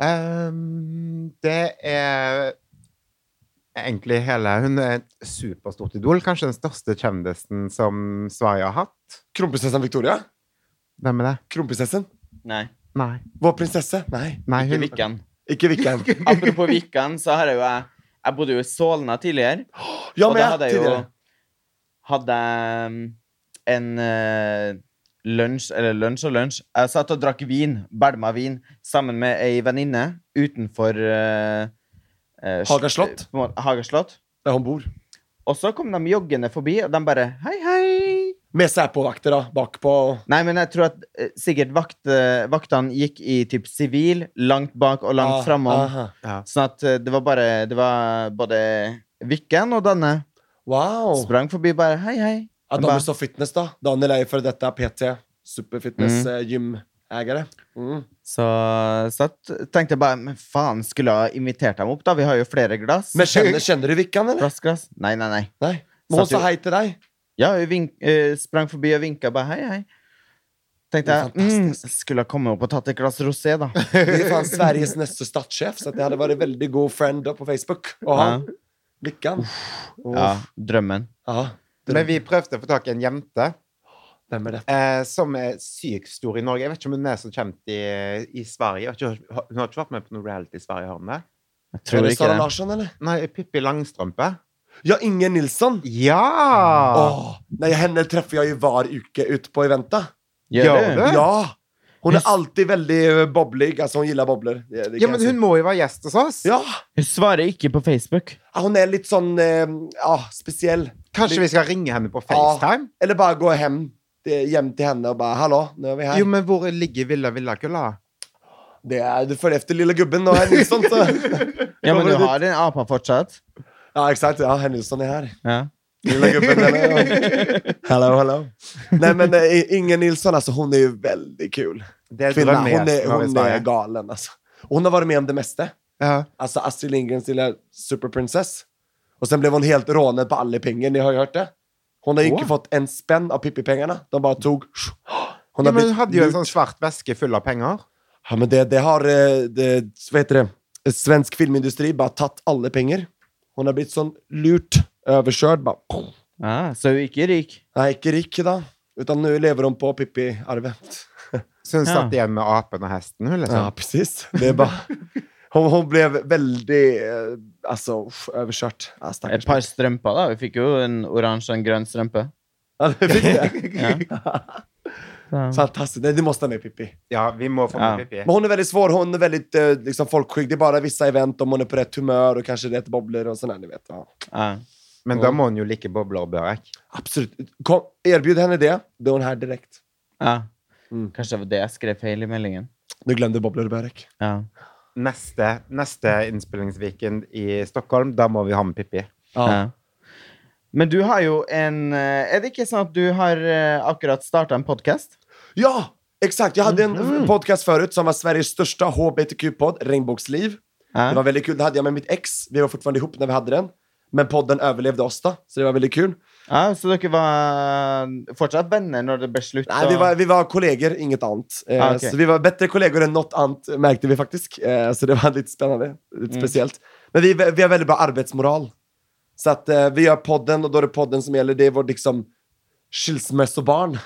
S2: Ehm, det er egentlig hele Hun er et superstort idol. Kanskje den største kjendisen som Sverige har hatt.
S3: Kronprinsessan Victoria?
S2: Hvem er det?
S3: Kronprinsessen?
S1: Nei,
S2: Nei.
S3: Vår prinsesse? Nej.
S2: Nei
S1: ikke
S2: hun,
S1: Vikkan.
S3: Icke
S1: [laughs]
S3: Vickan.
S1: Apropos Vikkan, så har jeg jo jeg Jeg bodde jo i Solna tidligere.
S3: Jag
S1: og da
S3: med.
S1: hadde jeg jo
S3: Tidigare.
S1: Hadde jeg mm, en eh, lunsj, eller lunsj og lunsj Jeg satt og drakk vin, bælma vin, sammen med ei venninne utenfor eh, eh,
S3: Haga slott.
S1: på en måte- Haga slott.
S3: Där hon bor.
S1: Og så kom de joggende forbi, og de bare Hei, hei!
S3: Med Säpo-vakter då, bak på...
S1: Nei, men jeg tror at eh, sikkert vakt, eh, vaktene gikk i typ sivil, langt bak og langt
S3: Ah,
S1: framom.
S3: aha.
S2: ja.
S1: Sånn at eh, det var bare Det var både Vikken och Danne
S3: Wow!
S1: sprang forbi bare hei, hei.
S3: Att de
S1: Bara-
S3: är så fitness då. Daniel är ju före detta PT, superfitness
S1: Mm.
S3: eh, gymägare. Mm.
S1: Så, så at- tenkte jeg bare Men faen, skulle jeg ha invitert dem opp, da? Vi har jo flere glass. [laughs]
S3: Men känner, känner du Vickan eller?
S1: Plastglass. Nei, nei, nei.
S3: Nej. Men hon
S1: Satt ju-
S3: sa hej till
S1: [laughs]
S3: dig.
S1: Ja, hun vink, eh, sprang forbi og vinka bare hei, hei.
S3: Det
S1: Tenkte
S3: er
S1: jeg mm, skulle jeg komme opp og tatt et glass rosé, da.
S3: Det är fan Sveriges nästa statschef, så att det hade varit väldigt god friend då på Facebook. Och
S1: Ja,
S3: han, Vickan. Uff.
S1: ja, drømmen.
S3: Ja.
S2: Men vi prøvde å få tak i en jente
S3: Vem är det?
S2: eh, som er sykt stor i Norge. Jeg vet ikke om hun er så kjent i, i Sverige. Jeg vet ikke- Hun har ikke vært med på noe reality i Sverige, har hun det?
S1: Jeg
S3: är
S1: tror
S3: det
S1: ikke
S3: Sara
S1: det.
S3: Larsson eller?
S2: Nei, Pippi Langstrømpe.
S3: Ja, Inger Nilsson.
S2: Ja!
S3: Åh, nej, henne träffar jag ju var uke ute på eventa.
S1: Gjør
S2: Gjør
S1: du?
S2: du?
S3: Ja! Hon är
S1: Yes.
S3: alltid väldigt eh, bobblig, alltså hon gillar bobblor. Det, det
S2: ja,
S3: kan
S2: men
S3: jag
S2: hun må jo være gjest hos oss.
S3: säga. Ja!
S1: Hun svarer ikke på Facebook.
S3: Ja, Hon är lite sån, eh, ja, speciell.
S2: Kanskje vi skal ringe henne på FaceTime?
S3: Eller bara gå hem, eh, hem till henne och bara hallå, nu är vi här.
S2: Jo, men hvor ligger Villa Villakulla?
S3: Det är, du följer efter lilla gubben och herr Nilsson. Så.
S2: [laughs]
S1: Ja, men
S3: Kommer
S1: du
S3: dit.
S1: har en apa fortsatt?
S3: Ja, exakt. Ja, sånn herr Nilsson är här.
S1: Ja.
S3: Lilla gubben. den är- Hello, hello. Nej, men eh, Inger Nilsson, alltså hon är ju väldigt kul.
S2: Det er
S3: Kvinna, hon
S2: drømmegjesten
S3: är,
S2: vår i
S3: hon är
S2: Sverige.
S3: galen alltså. Hon har varit med om det mesta.
S2: Ja.
S3: Alltså Astrid Lindgrens lilla superprinsess. Och sen blev hon helt rånad på Allipengen, ni har ju hört det. Hon har ju
S2: Åh.
S3: inte fått en spänn av Pippi-pengarna. De bara tog... Hon
S2: ja, men hun
S3: blivit
S2: hadde jo en
S3: lurt.
S2: sånn svart veske full av penger.
S3: Ja, men det, det har eh, det, Vad heter det? Svensk filmindustri bara tagit alla pengar. Hon har blivit sån lurt, överkörd. Bara,
S1: Ah, så hun er ikke rik?
S3: nej, inte rik idag. Utan nu lever hon på Pippi-arvet.
S2: Så hun
S1: Ja.
S2: satt igjen med apen og hesten. Hun, liksom.
S3: Ja, precis. Det är bara... Hon, hon blev väldigt eh, alltså, uff, överkörd. Ja,
S1: Et
S3: stackars
S1: par strømper, da. Hun fikk jo en oransje og en grønn strømpe.
S3: Ja, det fick det.
S1: Ja. [laughs] Så-
S3: Fantastiskt. Nej, du måste ha med Pippi.
S2: [laughs] Ja, vi må få
S1: Ja.
S2: med Pippi.
S3: Men hon är väldigt svår. Hon är väldigt eh, liksom, folkskygg. Det är bara vissa event om hon är på rätt humör och kanske rätt bobblor och sådär, ni vet. sånn, Ja.
S1: Ja.
S2: Men da må hun jo like bobler og børek.
S3: Absolut. Kom, erbjud henne det. Då är hon här direkt.
S1: Ja.
S3: Mm.
S1: Kanskje det var det jeg skrev feil i meldingen.
S3: Du glömde bobblor och börek.
S1: Ja.
S2: Neste, neste innspillingsviken i Stockholm, da må vi ha med Pippi.
S3: Ja.
S1: Ja. Men du har jo en eh, Er det ikke sånn at du har eh, akkurat starta en podkast?
S3: Ja, exakt. Jag hade en
S1: Mm.
S3: podcast förut som var Sveriges största HBTQ-podd, Regnbågsliv. Det var
S1: Ja.
S3: väldigt kul. Det hade jag med mitt ex. Vi var fortfarande ihop när vi hade den. Men podden överlevde oss då, så det var väldigt kul.
S1: Ja, så dere var eh, fortsatt venner når det ble slutt?
S3: Nej, vi,
S1: og-
S3: var, vi var kollegor, inget annat. Eh,
S1: Ah, okej.
S3: Så vi var bättre kollegor än något annat märkte vi faktiskt. Eh, så det var [laughs] lite spännande, lite
S1: Mm.
S3: speciellt. Men vi, vi har väldigt bra arbetsmoral. Så att eh, vi gör podden och då är det podden som gäller. Det är vårt liksom skilsmässobarn.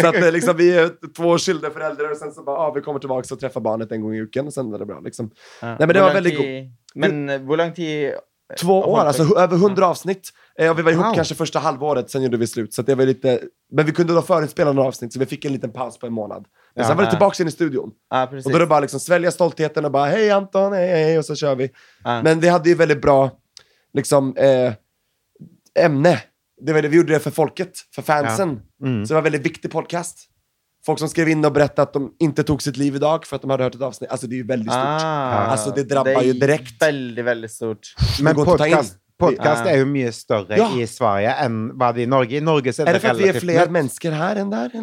S3: så att eh, liksom, vi är två skilda föräldrar och sen så bara, ah, vi kommer tillbaka och träffar barnet en gång i veckan och sen var det bra. Liksom.
S1: Ja.
S3: [laughs] Nei, men det
S1: Hvor
S3: var
S1: lang
S3: veldig
S1: tid- Men eh, hvor lang tid
S3: Två år, alltså hu- över hundra avsnitt. Eh, och vi var ihop
S2: Wow.
S3: kanske första halvåret, sen gjorde vi slut. Så att det var lite... Men vi kunde då förinspela några avsnitt, så vi fick en liten paus på en månad. Men
S1: Ja.
S3: sen var det
S1: Ja.
S3: tillbaka in i studion.
S1: Ja, precis.
S3: Och då är det bara liksom svälja stoltheten och bara hej Anton, hej hej, och så kör vi.
S1: Ja.
S3: Men vi hade ju väldigt bra liksom, eh, ämne. Det var det, vi gjorde det för folket, för fansen.
S2: Mm.
S3: Så det var en väldigt viktig podcast. Folk som skrev in och berättade att de inte tog sitt liv idag för att de hade hört ett avsnitt. Alltså det är ju väldigt stort.
S1: Ah,
S3: Alltså, det drabbar
S1: er
S3: ju direkt.
S1: Veldig, veldig stort.
S3: Men
S2: Men
S3: går inte att ta in.
S2: podcast, podcast
S1: Ja.
S2: er jo mye større
S3: Ja.
S2: i Sverige enn hva det er i Norge. I Norge så
S3: Är
S2: er
S3: det
S2: det
S3: för att vi är
S2: relativt
S3: fler
S2: nytt.
S3: människor här än där? Eller?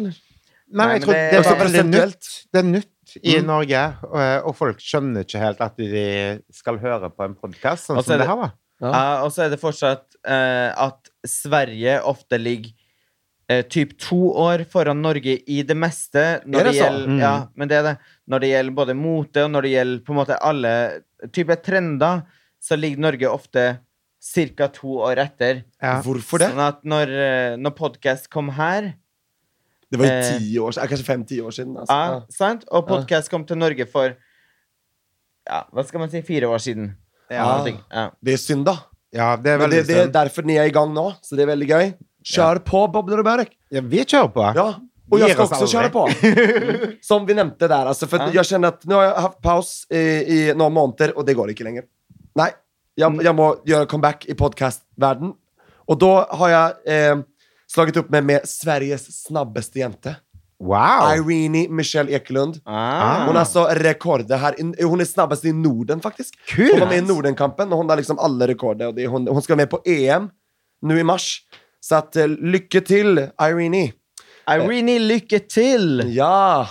S1: Nei,
S2: Nei, men
S1: men
S2: jeg tror
S1: det-
S2: det
S1: Også
S2: er veldig
S3: prosentuelt.
S2: nytt. Det er nytt i
S3: Mm.
S2: Norge, og, og folk skjønner ikke helt at de skal høre på en podkast sånn
S1: Og så er
S2: som
S1: det-
S2: det her, da.
S1: Ja, og så er det fortsatt eh, at Sverige ofte ligger eh, typ to år foran Norge i det meste. Når
S3: Er det så?
S1: gjelder,
S2: Mm.
S1: Ja, men det er det. Når det gjelder både mote og når det gjelder på en måte alle typer trender, så ligger Norge ofte ca. to år etter.
S2: Ja.
S3: Varför det?
S1: Sånn at når, eh, når podkast kom her
S3: Det var ju
S1: Eh. Ah.
S3: tio år sedan, äh, kanske fem, tio år sedan. Alltså.
S1: ja,
S3: Ja.
S1: sant? Og
S3: Ja.
S1: podkast kom til Norge for ja, hva skal man si, fire år siden.
S3: Ja.
S1: Noe ting. Ja.
S3: Det är synd då.
S2: ja, det er
S3: Men
S2: veldig
S3: det, det är
S2: sunt.
S3: därför ni är igång nu, så det är väldigt gøy. Kör på Bob och Berek.
S2: Ja, vi kjører på.
S3: Ja, och jag
S2: Ger
S3: ska
S2: oss
S3: också köra
S2: aldrig.
S3: på. [laughs] Som vi altså, nämnde där, alltså för att
S1: Ja.
S3: jag känner att nu har jag haft paus i, i några månader och det går inte längre. Nej,
S1: Mm.
S3: jag, jag må göra comeback i podcastvärlden. Och då har jag eh, slagit upp mig med Sveriges snabbaste jente.
S2: Wow!
S3: Irene Michelle Ekelund.
S1: Ah.
S3: Hon har alltså rekord. Det här, in- hon är snabbast i Norden faktiskt. Hon var
S2: Kult!
S3: med i Nordenkampen och hon har liksom alla rekord. Och det är hon, hon ska med på EM nu i mars. Så att, eh, lycka till Irene.
S1: Irene, lykke til!
S3: Ja!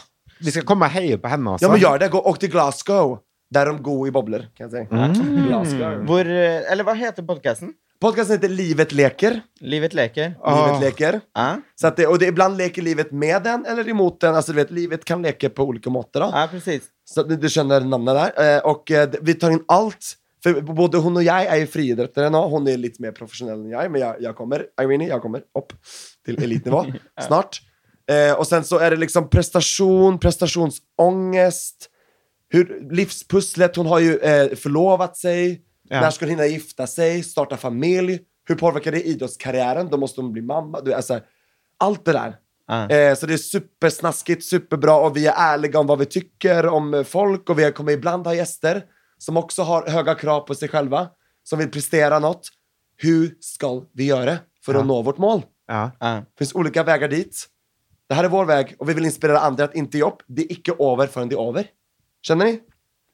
S2: Vi skal komme og heie på henne også.
S3: Ja men gör det, gå och till Glasgow. Där de går i bobblor kan jag säga.
S2: Mm.
S3: Glasgow.
S1: Hvor, eh, eller hva heter podkasten?
S3: Podcasten heter Livet leker.
S1: Livet leker.
S2: Ah.
S3: Livet leker.
S1: Ja,
S3: Så att det, och det, ibland leker livet med den eller emot den. Alltså du vet, livet kan leka på olika mått. Då.
S1: ja precis.
S3: Så att du, du känner namnen där. Eh, och eh, d- vi tar in allt. För både hon och jag är ju friidrottare nu. Hon är lite mer professionell än jag, men jag, jag kommer, Irene, jag kommer upp till elitnivå snart. Eh, och sen så är det liksom prestation, prestationsångest, hur, livspusslet. Hon har ju eh, förlovat sig.
S2: Ja.
S3: När ska hon hinna gifta sig? Starta familj? Hur påverkar det idrottskarriären? Då måste hon bli mamma. Du, alltså, allt det där.
S1: Ja.
S3: Eh, så det är supersnaskigt, superbra och vi är ärliga om vad vi tycker om eh, folk och vi kommer ibland ha gäster som också har höga krav på sig själva, som vill prestera något. Hur ska vi göra för
S2: Ja.
S3: att nå vårt mål? Det
S2: Ja.
S1: Ja.
S3: finns olika vägar dit. Det här är vår väg och vi vill inspirera andra att inte ge upp. Det är icke över förrän det är över. Känner ni?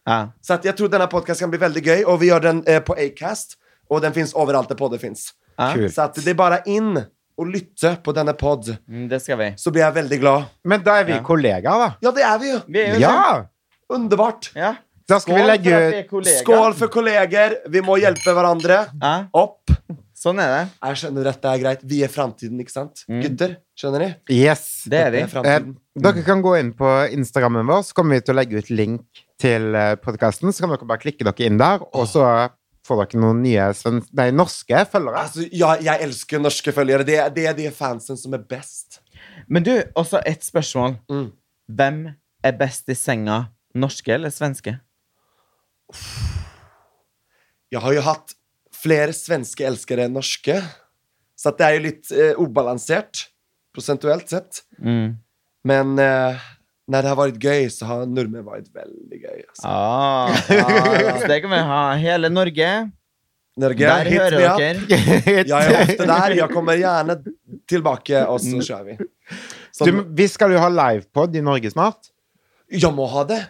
S1: Ja.
S3: Så att jag tror denna podcast kan bli väldigt göj och vi gör den eh, på Acast och den finns överallt där poddar finns.
S1: Ja.
S2: Kult.
S3: Så att det är bara in och lyssna på denna podd
S1: Mm, Det skal vi.
S3: så blir jag väldigt glad.
S2: Men da er vi
S1: Ja.
S2: kollegaer, da.
S3: Ja, det är vi ju!
S1: Vi er jo
S2: Ja!
S3: Underbart!
S1: ja.
S2: Da skal vi legge
S1: for at vi
S2: ut
S1: er kollegaer.
S3: Skål for kolleger! Vi må hjelpe hverandre
S1: Ja,
S3: opp.
S1: sånn er det.
S3: Jeg skjønner dette er greit. Vi er framtiden, ikke sant?
S1: Mm.
S3: Gutter, skjønner ni?
S2: Yes.
S1: Det er vi.
S3: Dette er
S2: Eh,
S3: framtiden.
S2: dere kan gå inn på Instagrammen vår, så kommer vi til å legge ut link til podkasten. Så kan dere bare klikke dere inn der, og så får dere noen nye sven nei, norske
S1: Eh.
S2: følgere.
S3: Altså, ja, jeg elsker norske følgere. Det, er- det er de fansen som er best.
S1: Men du, også et spørsmål.
S3: Mm.
S1: Hvem er best i senga? Norske eller svenske?
S3: Jeg har jo hatt flere svenske elskere enn norske, så at det er jo litt eh, ubalansert prosentuelt sett.
S1: Mm.
S3: Men eh, når det har vært gøy, så har nordmenn vært veldig gøy. Altså.
S1: Ah, ah, så det kan vi ha. Hele Norge.
S3: Norge,
S1: Der
S3: hit
S1: hører
S3: me up.
S1: dere.
S3: Jeg er
S2: [laughs]
S3: ofte der. Jeg kommer gjerne tilbake, og så kjører vi.
S2: Mm. du,
S3: Sånn,
S2: vi skal jo ha livepod i Norge snart.
S3: jeg må ha det!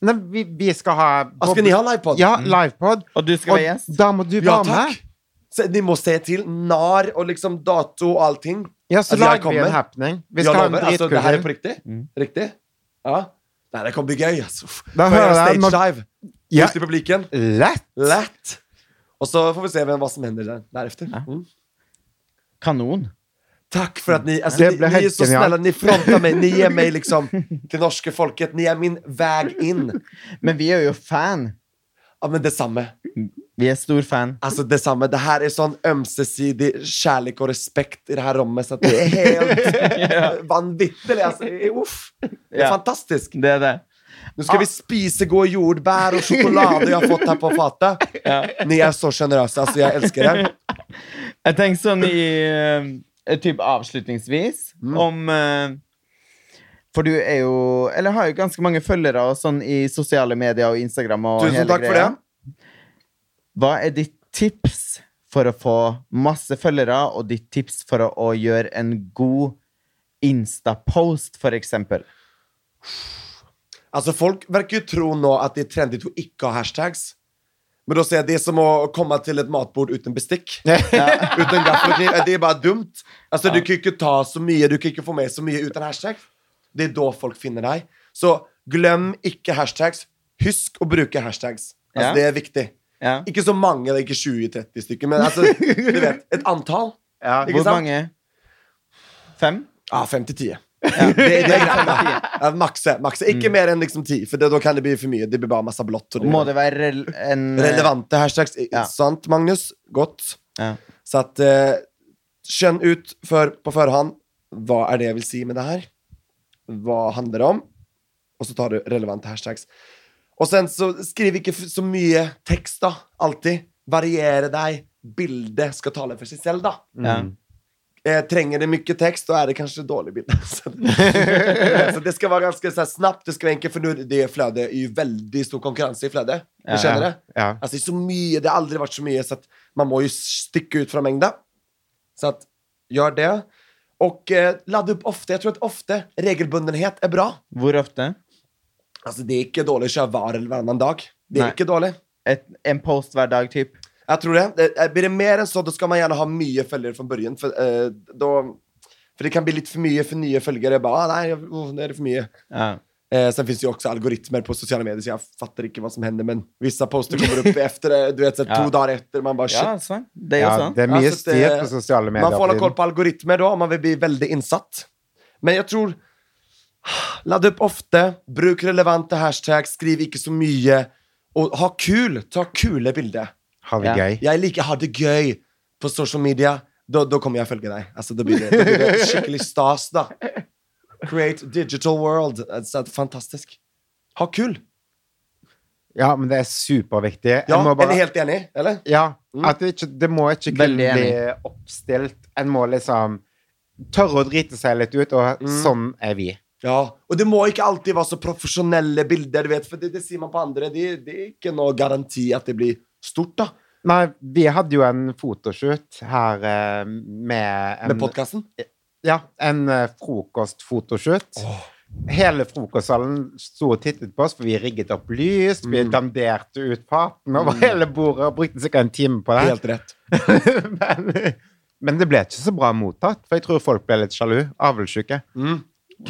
S2: Nei, vi, vi skal ha
S3: Ah, skal ni ha livepod?
S2: Ja, livepod.
S1: Og du skal
S2: Og
S1: være gjest.
S2: da må du
S3: Ja,
S2: være med.
S3: takk! Så ni må se til nar og liksom dato og allting.
S2: Ja, så
S3: At Altså, jeg
S2: lager vi
S3: kommer.
S2: en happening. Vi
S3: Jeg
S2: skal ha en
S3: lover, altså,
S2: dritkul
S3: det her er på
S2: helg.
S3: riktig?
S1: Mm.
S3: Riktig? Ja? Nei, det kan bli gøy, altså.
S2: Da
S3: Får jeg
S2: hører
S3: gjøre
S2: jeg
S3: stage
S2: Mag-
S3: dive
S2: Ja.
S3: ut i publikken.
S2: Lett!
S3: Lett! Och så får vi se vem, vad som händer där, därefter.
S1: Ja.
S3: Mm.
S1: Kanon.
S3: Tack för att ni, alltså,
S2: Det
S3: ni,
S2: blev
S3: ni är
S2: helt
S3: så
S2: genialt.
S3: snälla, ni frontar mig, ni
S2: [laughs]
S3: ger mig liksom till norska folket, ni är min väg in.
S1: Men vi er jo fan.
S3: Ja men detsamma.
S1: Vi er stor fan.
S3: Alltså detsamma, Altså, det sånn här är sån ömsesidig kärlek och respekt i det här rummet så att det är
S1: [laughs]
S3: helt vanvitterligt. Alltså, uff. Det är
S1: Ja. Ah.
S3: fantastiskt.
S1: Det er det.
S3: Nu ska vi spise gå jordbär och choklad jag har fått här på fatet. Ni är så altså. generösa, alltså jag älskar er.
S1: Jeg tenker sånn i eh, typ avslutningsvis om eh, For du er jo Eller har jo ganske mange følgere og sånn i sosiale medier og Instagram og
S3: Tusen
S1: hele
S3: takk for
S1: greia.
S3: det.
S1: Hva er ditt tips for å få masse følgere, og ditt tips for å, å gjøre en god Insta-post, for eksempel?
S3: Alltså Altså, folk verkar ju tro nå att det är trendigt att icke ha hashtags. Men då säger jag, det är som att komma till ett matbord
S1: [laughs]
S3: utan bestick. utan gaffel och kniv. Det är bara dumt. Alltså du kan ju inte ta så mycket, du kan ju inte få med så mycket utan hashtags. Det är då folk finner dig. Så glöm icke hashtags. Husk att bruka hashtags. Alltså
S1: Ja.
S3: det är viktigt.
S1: Ja.
S3: Ikke så mange, det er ikke 20-30 stykker, men altså, du vet, et antall.
S2: Ja.
S3: Ikke
S1: Hvor
S3: sant?
S1: mange? Fem?
S3: Ja, fem til ti. Ja, det, [laughs] det er greit. da. Ja, makse. makse. Ikke mer enn liksom ti, for det- da kan det bli for mye. Det blir bare masse blått. Og det-
S1: Mm. Må det være rel- en
S3: Relevante hashtags. i-
S1: Eh, Ja.
S3: Sant, Magnus? Godt.
S1: Ja.
S3: Så at eh, Skjønn ut før, på forhånd hva er det jeg vil si med det her. Hva handler det om? Og så tar du relevante hashtags. Og sen så skriv ikke f- så mye tekst, da. Alltid. Variere deg. Bildet skal tale for seg selv, da.
S2: Mm.
S1: ja.
S3: Eh, trenger det mycket text då är det kanske dålig bild. [laughs] så, det- [laughs] så det ska vara ganska så här, snabbt, det ska vara enkelt för nu det flöde är ju väldigt stor konkurrens i flöde.
S1: Ja.
S3: Ni känner det?
S2: Ja.
S3: Alltså Altså, det är så mycket, det har aldrig varit så mycket så att man må ju sticka ut från mängden. Så att gör det. Och eh, ladda upp ofta, jag tror att ofta regelbundenhet är bra.
S1: Hvor ofte?
S3: Alltså det är inte dåligt att köra var eller varannan dag. Det är
S1: Nej.
S3: inte dåligt.
S1: Et, en post hver dag, typ?
S3: Jag tror det. det. eh, Blir det mer än så, då ska man gärna ha mycket följare från början. För, eh, då, för det kan bli lite för mycket för nya följare. Bara, ah, nej, jag- oh, det är det för mycket.
S1: Ja.
S3: Eh, sen finns det ju också algoritmer på sociala medier, så jag fattar inte vad som händer. Men vissa poster
S1: [laughs]
S3: kommer upp efter det, du vet, så här,
S1: Ja.
S3: två dagar efter. Man bara, shit.
S1: Ja, altså. Det er jo
S2: ja,
S1: sånn.
S2: det er mye
S3: Altså, det-
S2: styr på sosiale medier.
S3: Man får hålla
S2: for
S3: koll
S2: tiden.
S3: på algoritmer då, om man vill bli väldigt insatt. Men jag tror, ladda upp ofta, bruk relevanta hashtags, skriv inte så mycket och ha kul, ta kule bilder.
S2: Har vi
S1: Ja.
S2: gøy?
S3: Jeg liker ha det gøy på social media. Da, da kommer jeg å følge deg. Altså, da, blir det, da blir det skikkelig stas, da. Create digital world. Altså, fantastisk. Ha kul.
S2: Ja, men det er superviktig. Jeg
S3: Ja,
S2: må
S3: Er
S2: bare-
S3: du helt enig, eller?
S2: Ja,
S3: Mm.
S2: at det, ikke, det må ikke kun
S1: Veldig enig.
S2: bli oppstilt. En må liksom tørre å drite seg litt ut,
S3: Mm.
S2: og sånn er vi.
S3: Ja. Og det må ikke alltid være så profesjonelle bilder, du vet, for det, det sier man på andre. Det, det er ikke noe garanti at det blir stort, da,
S2: Nei, vi hadde jo en fotoshoot her eh, med en,
S3: med podkasten.
S2: Ja, en eh, frokostfotoshoot. Hele frokostsalen sto og tittet på oss, for vi rigget opp lys, vi
S3: Mm.
S2: danderte ut faten over hele bordet og brukte sikkert en time på det. [laughs]
S3: Helt rett.
S2: men, men det ble ikke så bra mottatt, for jeg tror folk ble litt sjalu. Avlssyke.
S3: Mm. [laughs]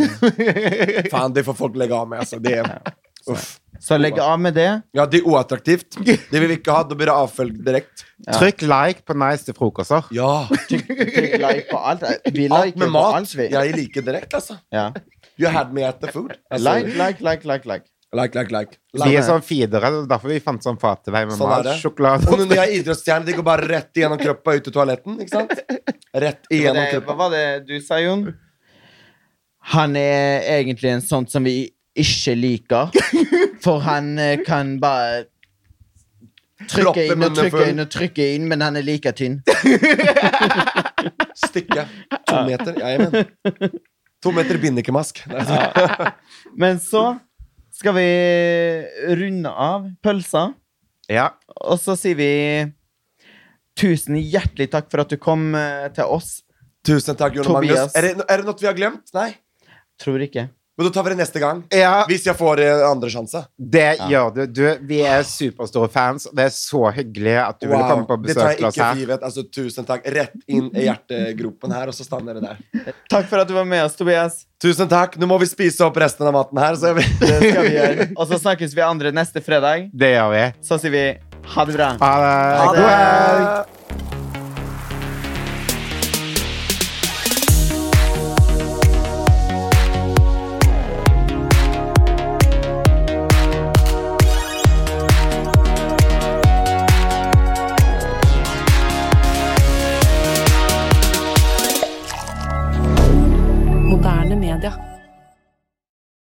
S3: Faen, det får folk legge av med, altså. Det er Uff.
S1: Så legg av med det.
S3: Ja, det er uattraktivt. Det vil vi ikke ha. Da blir det avfølg direkte.
S2: Trykk like på nice til frokoster.
S3: Ja.
S1: Trykk like på alt. Vi
S3: Alt
S1: liker jo
S3: med
S1: på
S3: mat.
S1: alt, vi.
S3: Jeg liker direkte, altså.
S1: Ja.
S3: You had me at the food. Altså,
S1: Like, like, like, like, like.
S3: like, like, like.
S2: Vi er
S3: Like.
S2: sånn feedere, det er derfor vi fant sånn fat til deg med
S3: Sånn er
S2: mat,
S3: det.
S2: sjokolade
S3: Og når jeg er idrettsstjerne, det går bare rett igjennom kroppen og ut i toaletten. ikke sant? Rett
S1: Hva
S3: igjennom
S1: det- hva
S3: kroppen.
S1: var det du sa, Jon? Han er egentlig en sånn som vi ikke
S3: [laughs]
S1: liker. For han eh, kan bare
S3: Proppe
S1: trykke inn og
S3: munnen
S1: trykke
S3: full.
S1: inn og trykke inn, men han er like tynn.
S3: Stikke. To meter. Ja, amen. To meter bindekemask. Nei, så-
S1: Men så skal vi runde av pølsa,
S2: Ja.
S1: og så sier vi tusen hjertelig takk for at du kom eh, til oss.
S3: Tusen takk, Jon og Magnus.
S1: Tobias.
S3: Er det, er det noe vi har glemt? Nei?
S1: Tror ikke.
S3: Men da tar vi det neste gang.
S2: ja,
S3: Hvis jeg får eh, andre sjanse.
S2: det gjør du. du. Vi er superstore fans, og det er så hyggelig at du ville komme på
S3: Det tar
S2: besøk
S3: jeg
S2: til
S3: ikke
S2: oss
S3: for
S2: her.
S3: givet. Altså, tusen takk. Rett inn i hjertegropen her, og så stander det der.
S1: Takk for at du var med oss, Tobias.
S3: Tusen takk. Nå må vi spise opp resten [laughs] av maten her. Så jeg vil...
S1: Det skal vi gjøre. Og så snakkes vi andre neste fredag.
S2: Det gjør vi.
S1: Så sier vi Ha det bra.
S2: Ha det.
S3: Ha
S2: God helg!
S3: det!